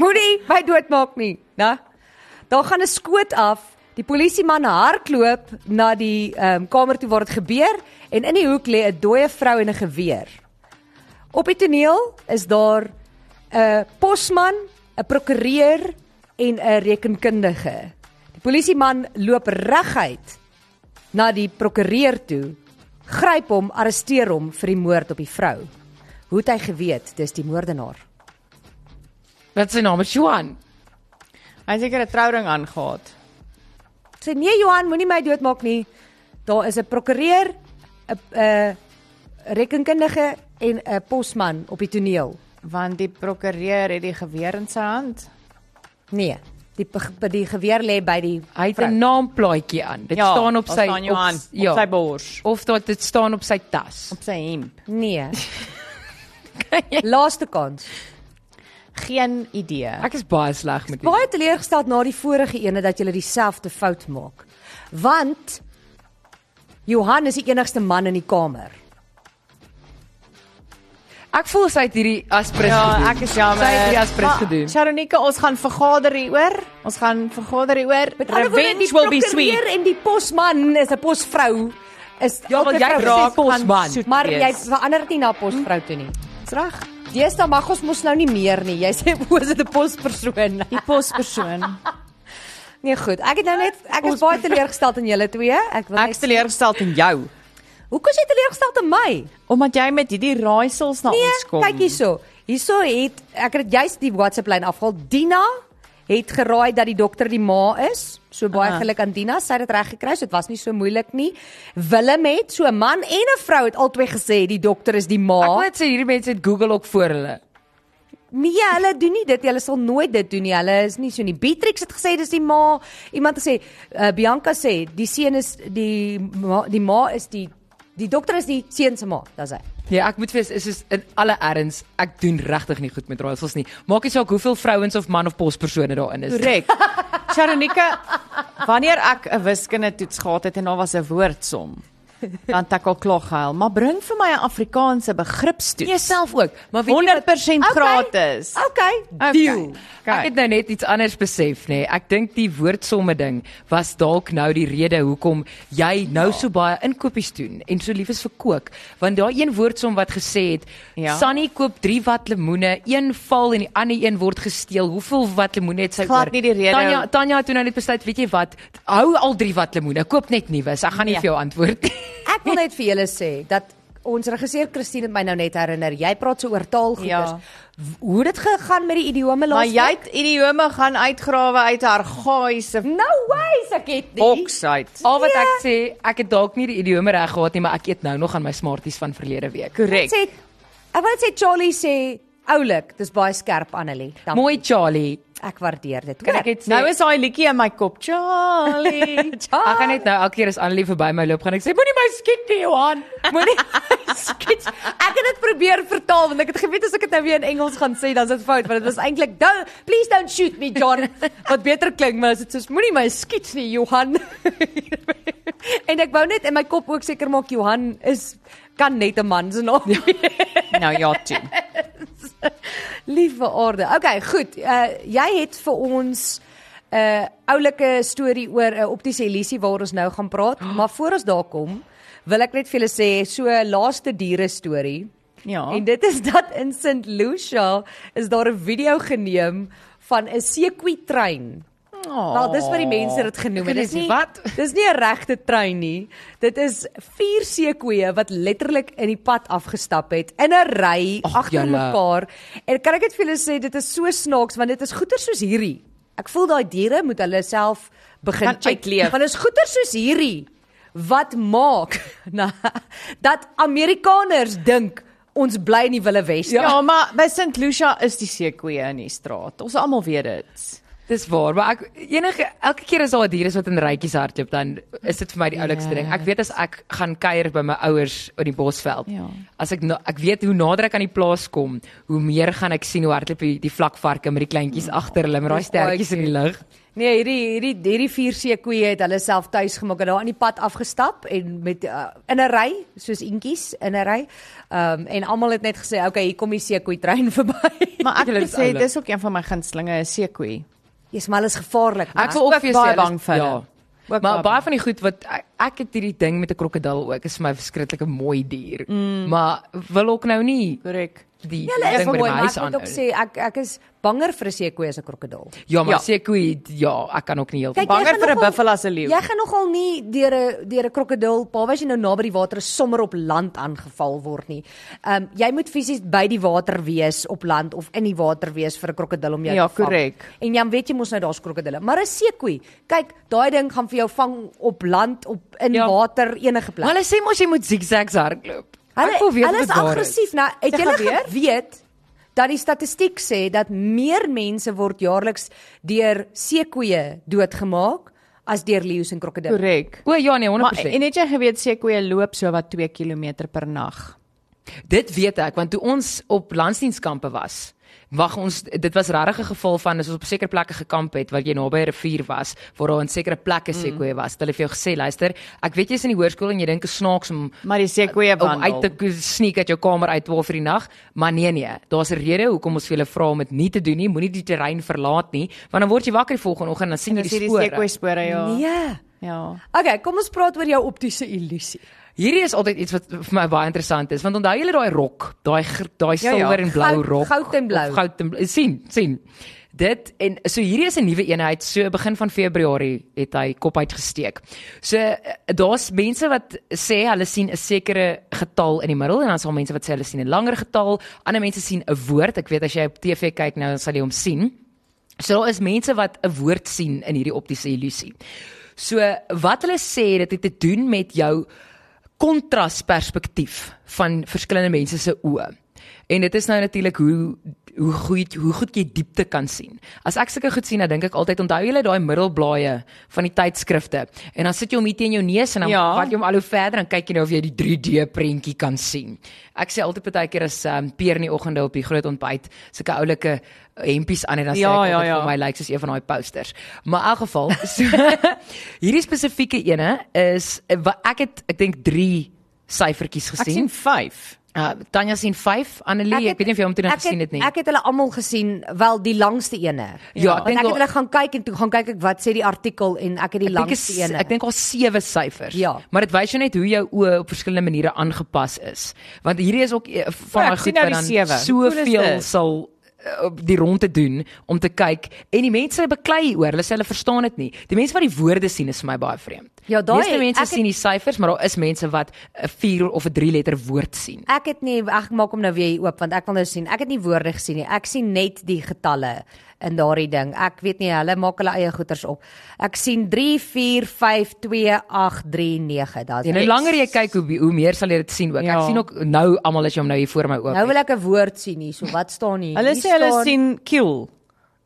S2: Moenie my doodmaak nie, né?" Daar gaan 'n skoot af. Die polisieman hardloop na die ehm kamer toe waar dit gebeur en in die hoek lê 'n dooie vrou en 'n geweer. Op die toneel is daar 'n posman, 'n prokureur en 'n rekenkundige. Die polisieman loop reguit na die prokureur toe, gryp hom, arresteer hom vir die moord op die vrou. Hoe het hy geweet dis die moordenaar?
S4: wat is sy naam? Is Johan.
S3: Hy het seker 'n trouring aangehad.
S2: Sê nee Johan, moenie my doodmaak nie. Daar is 'n prokureur, 'n 'n rekenkundige en 'n posman op die toneel.
S3: Want die prokureur het die geweer in sy hand.
S2: Nee, die die geweer lê by die
S4: Hy het
S2: vrou.
S4: 'n naamplaatjie aan. Dit staan op
S3: Ja, daar
S4: sy
S3: staan Johan, op,
S4: ja.
S3: op sy bors,
S4: of dat dit staan op sy tas.
S3: op sy hemp.
S2: Nee. Laaste kans.
S3: Geen idee.
S4: Ek is baie sleg met dit.
S2: Baie teleurgesteld na die vorige ene dat jy dieselfde fout maak. Want Johan is die enigste man in die kamer.
S4: Ek voel sy het hierdie aspres gedoen.
S3: Ja, ek is jammer.
S4: Sy het hierdie aspres
S3: Maar,
S4: gedoen.
S3: Sharonika, ons gaan vergader hieroor. Ons gaan vergader hieroor.
S2: Met ander woorde, die prokureur en die posman is 'n posvrou is
S4: Ja, want
S2: altyd
S4: jy
S2: vrou
S4: raak
S2: gesê,
S4: posman.
S2: gaan soet Maar jy
S3: wees.
S2: verander dit nie na posvrou toe nie.
S3: Dis reg.
S2: Deesdae mag ons mos nou nie meer nie. Jy sê o, is dit 'n pospersoon?
S3: Die pospersoon.
S2: Nee, goed. Ek het nou net ek is baie teleurgesteld in julle twee. Ek wil
S3: Ek
S2: net
S3: is teleurgesteld in jou
S2: Hoekom is jy teleurgesteld in my?
S3: omdat jy met hierdie raaisels na
S2: Nee,
S3: ons kom.
S2: kyk hierso. Hierso het ek het juist die WhatsApp lyn afhaal. Dina het geraai dat die dokter die ma is. So baie
S3: Ah.
S2: geluk aan Dina. Sy het dit reg gekry. So dit was nie so moeilik nie. Willem het so 'n man en 'n vrou het albei gesê die dokter is die
S4: Ek
S2: ma.
S4: weet sy hierdie mense het Google ook voor hulle.
S2: Nee, hulle doen nie dit. Hulle sal nooit dit doen nie. Hulle is nie so nie. Beatrix het gesê dis die ma. Iemand het gesê uh, Bianca sê die seun is die ma, die ma is die die dokter is die seun se ma. Dis hy.
S4: Nee, ek moet wees is soos in alle erns, ek doen regtig nie goed met raaisels nie. Maak nie saak hoeveel vrouens of man of pospersone daarin is.
S3: Korrek. Sharonika, wanneer ek 'n wiskunde toets gehad het en daar was 'n woordsom, dan het ek al klaar gehuil, maar bring vir my 'n Afrikaanse begripstoets.
S4: Jy self ook, maar weet jy wat
S3: 100%
S2: Okay.
S3: gratis.
S2: Okay.
S3: Okay.
S4: Deal.
S3: Okay.
S4: Ek het nou net iets anders besef nê. Nee. Ek dink die woordsomme ding was dalk nou die rede hoekom jy nou so baie inkopies doen en so lief is vir kook, want daai een woordsom wat gesê het, ja.
S3: Ja.
S4: Sunny koop 3 wat lemoene, een val en die ander een word gesteel. Hoeveel wat lemoene het sy
S3: Glad nie die rede.
S4: Tanya Tanya het toe nou net besluit, weet jy wat, hou al 3 wat lemoene, koop net nuwe. Ek gaan nie
S3: Nee.
S4: vir jou antwoord nie.
S2: Ek wil net vir julle sê dat ons regisseur Christine het my nou net herinner. Jy praat so oor taalgoeders.
S3: Ja.
S2: Ja. Hoe het dit gegaan met die idiome laas?
S3: Maar jy het idiome gaan uitgrawe uit argaïse
S2: no way, ek het nie.
S3: boks uit.
S4: Al wat ek sê, ek het dalk nie die idiome reg gehad nie, maar ek eet nou nog aan my smarties van verlede week.
S3: Korrek.
S2: Sê Ek wil net sê Charlie sê oulik, dis baie skerp Annelie. Dankie.
S4: Mooi Charlie.
S2: Ek waardeer dit.
S4: Kan ek net sê
S3: Nou is daai liedjie in my kop, Charlie.
S4: Ek gaan net nou elke keer as Annelie verby my loop gaan ek sê moenie my skiet nie Johan.
S2: moenie skets. Ek het dit probeer vertaal want ek het geweet as ek dit nou weer in Engels gaan sê dan is dit fout want dit was eintlik don't please don't shoot me John wat beter klink maar as dit soos moenie my skiet nie Johan. en ek wou net in my kop ook seker maak Johan is kan net 'n man se naam.
S3: nou ja, toe.
S2: Liewe aarde. Okay, goed. Uh jy het vir ons 'n uh, oulike storie oor 'n optiese illusie waar ons nou gaan praat, maar voor ons daar kom, wil ek net vir julle sê so laaste diere storie.
S3: Ja.
S2: En dit is dat in St. Lucia is daar 'n video geneem van 'n seekoe trein. Wel, dis wat die mense dit genoem het.
S4: Ek
S2: Dis
S4: weet
S2: nie
S4: nie wat.
S2: Dis nie 'n regte trein nie. Dit is vier seekoeie wat letterlik in die pad afgestap het in 'n ry
S4: Ag,
S2: agter
S4: julle.
S2: mekaar. En kan ek dit vir julle sê, dit is so snaaks want dit is goeie soos hierdie. Ek voel daai diere moet hulle self begin
S3: Kan
S2: check.
S3: uitleef.
S2: Want is goeie soos hierdie wat maak na, dat Amerikaners dink ons bly
S4: Ja.
S2: in die Wille Wes.
S3: Ja, maar by St Lucia is die seekoeie in die straat. Ons almal weet dit.
S4: Dis waar, maar ek enige elke keer as daar 'n dier is wat in rytjies hardloop, dan is dit vir my die oulikste
S3: Ja,
S4: ding. Ek weet as ek gaan kuier by my ouers in die Bosveld.
S3: Ja.
S4: As ek na, ek weet hoe nader ek aan die plaas kom, hoe meer gaan ek sien hoe hardloop die, die vlakvarke met die kleintjies
S3: Ja.
S4: agter hulle met daai
S2: dis baie
S4: stertjies in die lug.
S2: Nee, hierdie hierdie hierdie vier seekoeie het hulle self tuis gemaak en daar aan die pad afgestap en met uh, in 'n ry, soos eentjies in 'n ry. Ehm um, en almal het net gesê, "Okay, hier kom die seekoei trein verby."
S3: Maar ek
S4: Julle
S3: moet
S4: is
S3: sê
S4: oulik.
S3: dis ook een van my gunstelinge, 'n seekoei.
S2: Jy's maar alles gevaarlik.
S4: Ek
S2: man.
S4: wil ook vir
S3: baie
S4: jou sê, hulle is-
S3: bang vir hulle.
S4: Ja.
S3: Ook baie
S4: Maar baie van die goed wat ek, ek het hierdie ding met 'n krokodil ook, is vir my verskriklike mooi dier. Mm. Maar wil ook nou nie
S3: Korrek.
S4: die
S2: Ja, hulle is
S4: ding by
S2: mooi,
S4: die
S2: maar
S4: huis
S2: ek moet
S4: aan.
S2: ook sê ek ek is banger vir 'n seekoei as 'n krokodil.
S4: Ja, maar
S3: Ja.
S4: ja. seekoei, ja, ek kan ook nie heeltyd.
S2: Kyk,
S3: Banger
S2: jy gaan
S3: vir 'n
S2: nogal-
S3: buffel as 'n leeu.
S2: Jy gaan nogal nie deur 'n deur 'n krokodil, behalwe as jy nou naby die water is, sommer op land aangeval word nie. Ehm um, jy moet fisies by die water wees op land of in die water wees vir 'n krokodil om jou
S3: Ja,
S2: te vang.
S3: korrek.
S2: En jy weet jy mos nou daar's krokodille, maar 'n seekoei, kyk, daai ding gaan vir jou vang op land, op in
S4: Ja.
S2: ja. water, enige plek.
S4: Maar hulle sê mos jy moet zigzags hardloop. Ek wil weet
S2: hulle
S4: of
S2: is
S4: dit waar
S2: aggressief nou. Het
S3: Sy
S2: julle
S3: gaan weer?
S2: geweet dat die statistiek sê dat meer mense word jaarliks deur seekoeie doodgemaak as deur leeu's en krokodille?
S3: Korrek.
S4: O ja nee, 100%.
S3: Maar en het jy geweet seekoeie loop so wat 2 km per nag?
S4: dit weet ek want toe ons op landsdienskampe was, wag ons dit was regtig 'n geval van as ons op sekere plekke gekamp het waar jy naby 'n rivier was, waar daar in sekere plekke sekoe was. het Hulle het vir jou gesê, luister, ek weet jy's in die hoërskool en jy dink dit is snaaks om
S3: Maar die seekoeie
S4: om
S3: wandel.
S4: Oh, uit te k- sneak uit jou kamer uit 12 uur die nag, maar nee nee, daar's 'n rede hoekom ons vir julle vra om dit nie te doen nie, moenie die terrein verlaat nie, want dan word jy wakker die volgende oggend en dan sien jy
S3: Dis
S4: die
S3: hierdie
S4: spore.
S3: seekoeie spore ja.
S2: Nee.
S3: Ja.
S2: Okay, kom ons praat oor jou optiese illusie.
S4: Hierdie is altyd iets wat vir my baie interessant is, want onthou julle daai rok, daai gr- daai
S3: Ja, ja.
S4: silwer en blou
S2: Goud-
S4: rok,
S2: goud en blou.
S4: of goud en blou, sien, sien. Dit en so hierdie is 'n nuwe eenheid. So begin van Februarie het hy kop uitgesteek. So eh, daar's mense wat sê hulle sien 'n sekere getal in die middel en dan is daar mense wat sê hulle sien 'n langer getal. Ander mense sien 'n woord. Ek weet as jy op TV kyk nou dan sal jy hom sien. So daar is mense wat 'n woord sien in hierdie optiese illusie. So wat hulle sê dit het te doen met jou kontrasperspektief van verskillende mense se oë. En dit is nou natuurlik hoe hoe goed hoe goed jy diepte kan sien. As ek sulke goed sien, dan dink ek altyd onthou julle daai middelblaaie van die tydskrifte en dan sit jy hom hier teen jou neus en dan
S3: Ja.
S4: ja. vat jy hom al hoe verder en kyk jy nou of jy die 3D prentjie kan sien. Ek sê altyd baie keer as um, Pier in die oggende op die groot ontbyt sulke oulike hempies aan het dan
S3: Ja,
S4: ja, sê
S3: ja,
S4: ek ja,
S3: ja.
S4: ja. vir my lyk soos een van daai posters. Maar in elk geval, so, hierdie spesifieke ene is eh, wa- ek het ek dink 3 syfertjies
S3: Ek sien
S4: gesien.
S3: 5.
S4: Uh, Tanya sien 5, Annelie, ek,
S2: het-
S4: ek weet nie of jy hom toe nog
S2: ek het-
S4: gesien het nie.
S2: Ek het hulle almal gesien, wel die langste ene. Want
S4: Ja, ek
S2: ek
S4: dink
S2: het
S4: daar-
S2: hulle gaan kyk en toe gaan kyk ek wat sê die artikel en ek het die
S4: Ek dink
S2: langste
S4: is-
S2: ene.
S4: Ek dink al sewe syfers.
S2: Ja.
S4: Maar dit wys jou net hoe jou oë op verskillende maniere aangepas is. Want hierdie is ook eh, van
S3: Ja,
S4: daai
S3: ek sien
S4: goed
S3: nou
S4: wat
S3: die
S4: dan
S3: sewe. Hoe cool is
S4: soveel
S3: dit?
S4: sal eh, op die ronde doen om te kyk en die mense beklei oor hulle sê hulle verstaan dit nie. Die mense wat die woorde sien is vir my baie vreemd.
S2: Ja, daai-
S4: meeste mense
S2: ek het-
S4: sien die syfers, maar daar is mense wat 'n 4 of 'n 3 letter woord sien.
S2: Ek het nie ek maak hom nou weer hier oop want ek wil nou sien. Ek het nie woorde gesien nie. Ek sien net die getalle in daardie ding. Ek weet nie hulle maak hulle eie goeters op. Ek sien 3 4 5 2 8 3 9. Daar's
S3: nou
S4: En hoe langer jy kyk hoe hoe meer sal jy dit sien ook. Ja.
S3: Ja.
S4: Ek sien ook nou almal as jy hom nou hier voor my oop.
S2: Nou
S4: het.
S2: wil ek 'n woord sien hier. So wat staan hier?
S3: Hulle
S2: Hier
S3: sê hulle
S2: staan-
S3: sien kiel.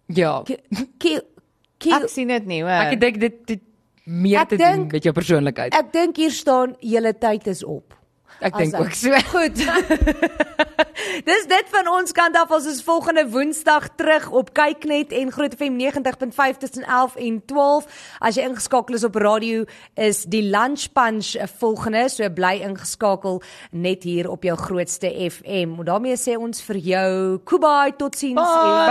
S4: Ja.
S2: Ki- ki- ki-
S3: Ek sien dit nie, hoor.
S4: Ek dink dit dit meer
S2: Ek
S4: te doen
S2: dink-
S4: met jou persoonlikheid.
S2: Ek dink hier staan julle tyd is op.
S4: Ek dink
S2: As
S4: ook so.
S2: Goed. Dis dit van ons kant af. Ons is volgende Woensdag terug op Kyknet en Groot FM 90.5 tussen 11 en 12. As jy ingeskakel is op radio is die Lunch Punch volgende, so bly ingeskakel net hier op jou grootste FM. En daarmee sê ons vir jou kubai totsiens. en-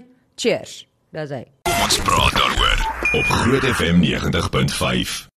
S4: Bye.
S2: Cheers. Dis hy.
S1: Kom ons praat daaroor op Groot FM 90.5.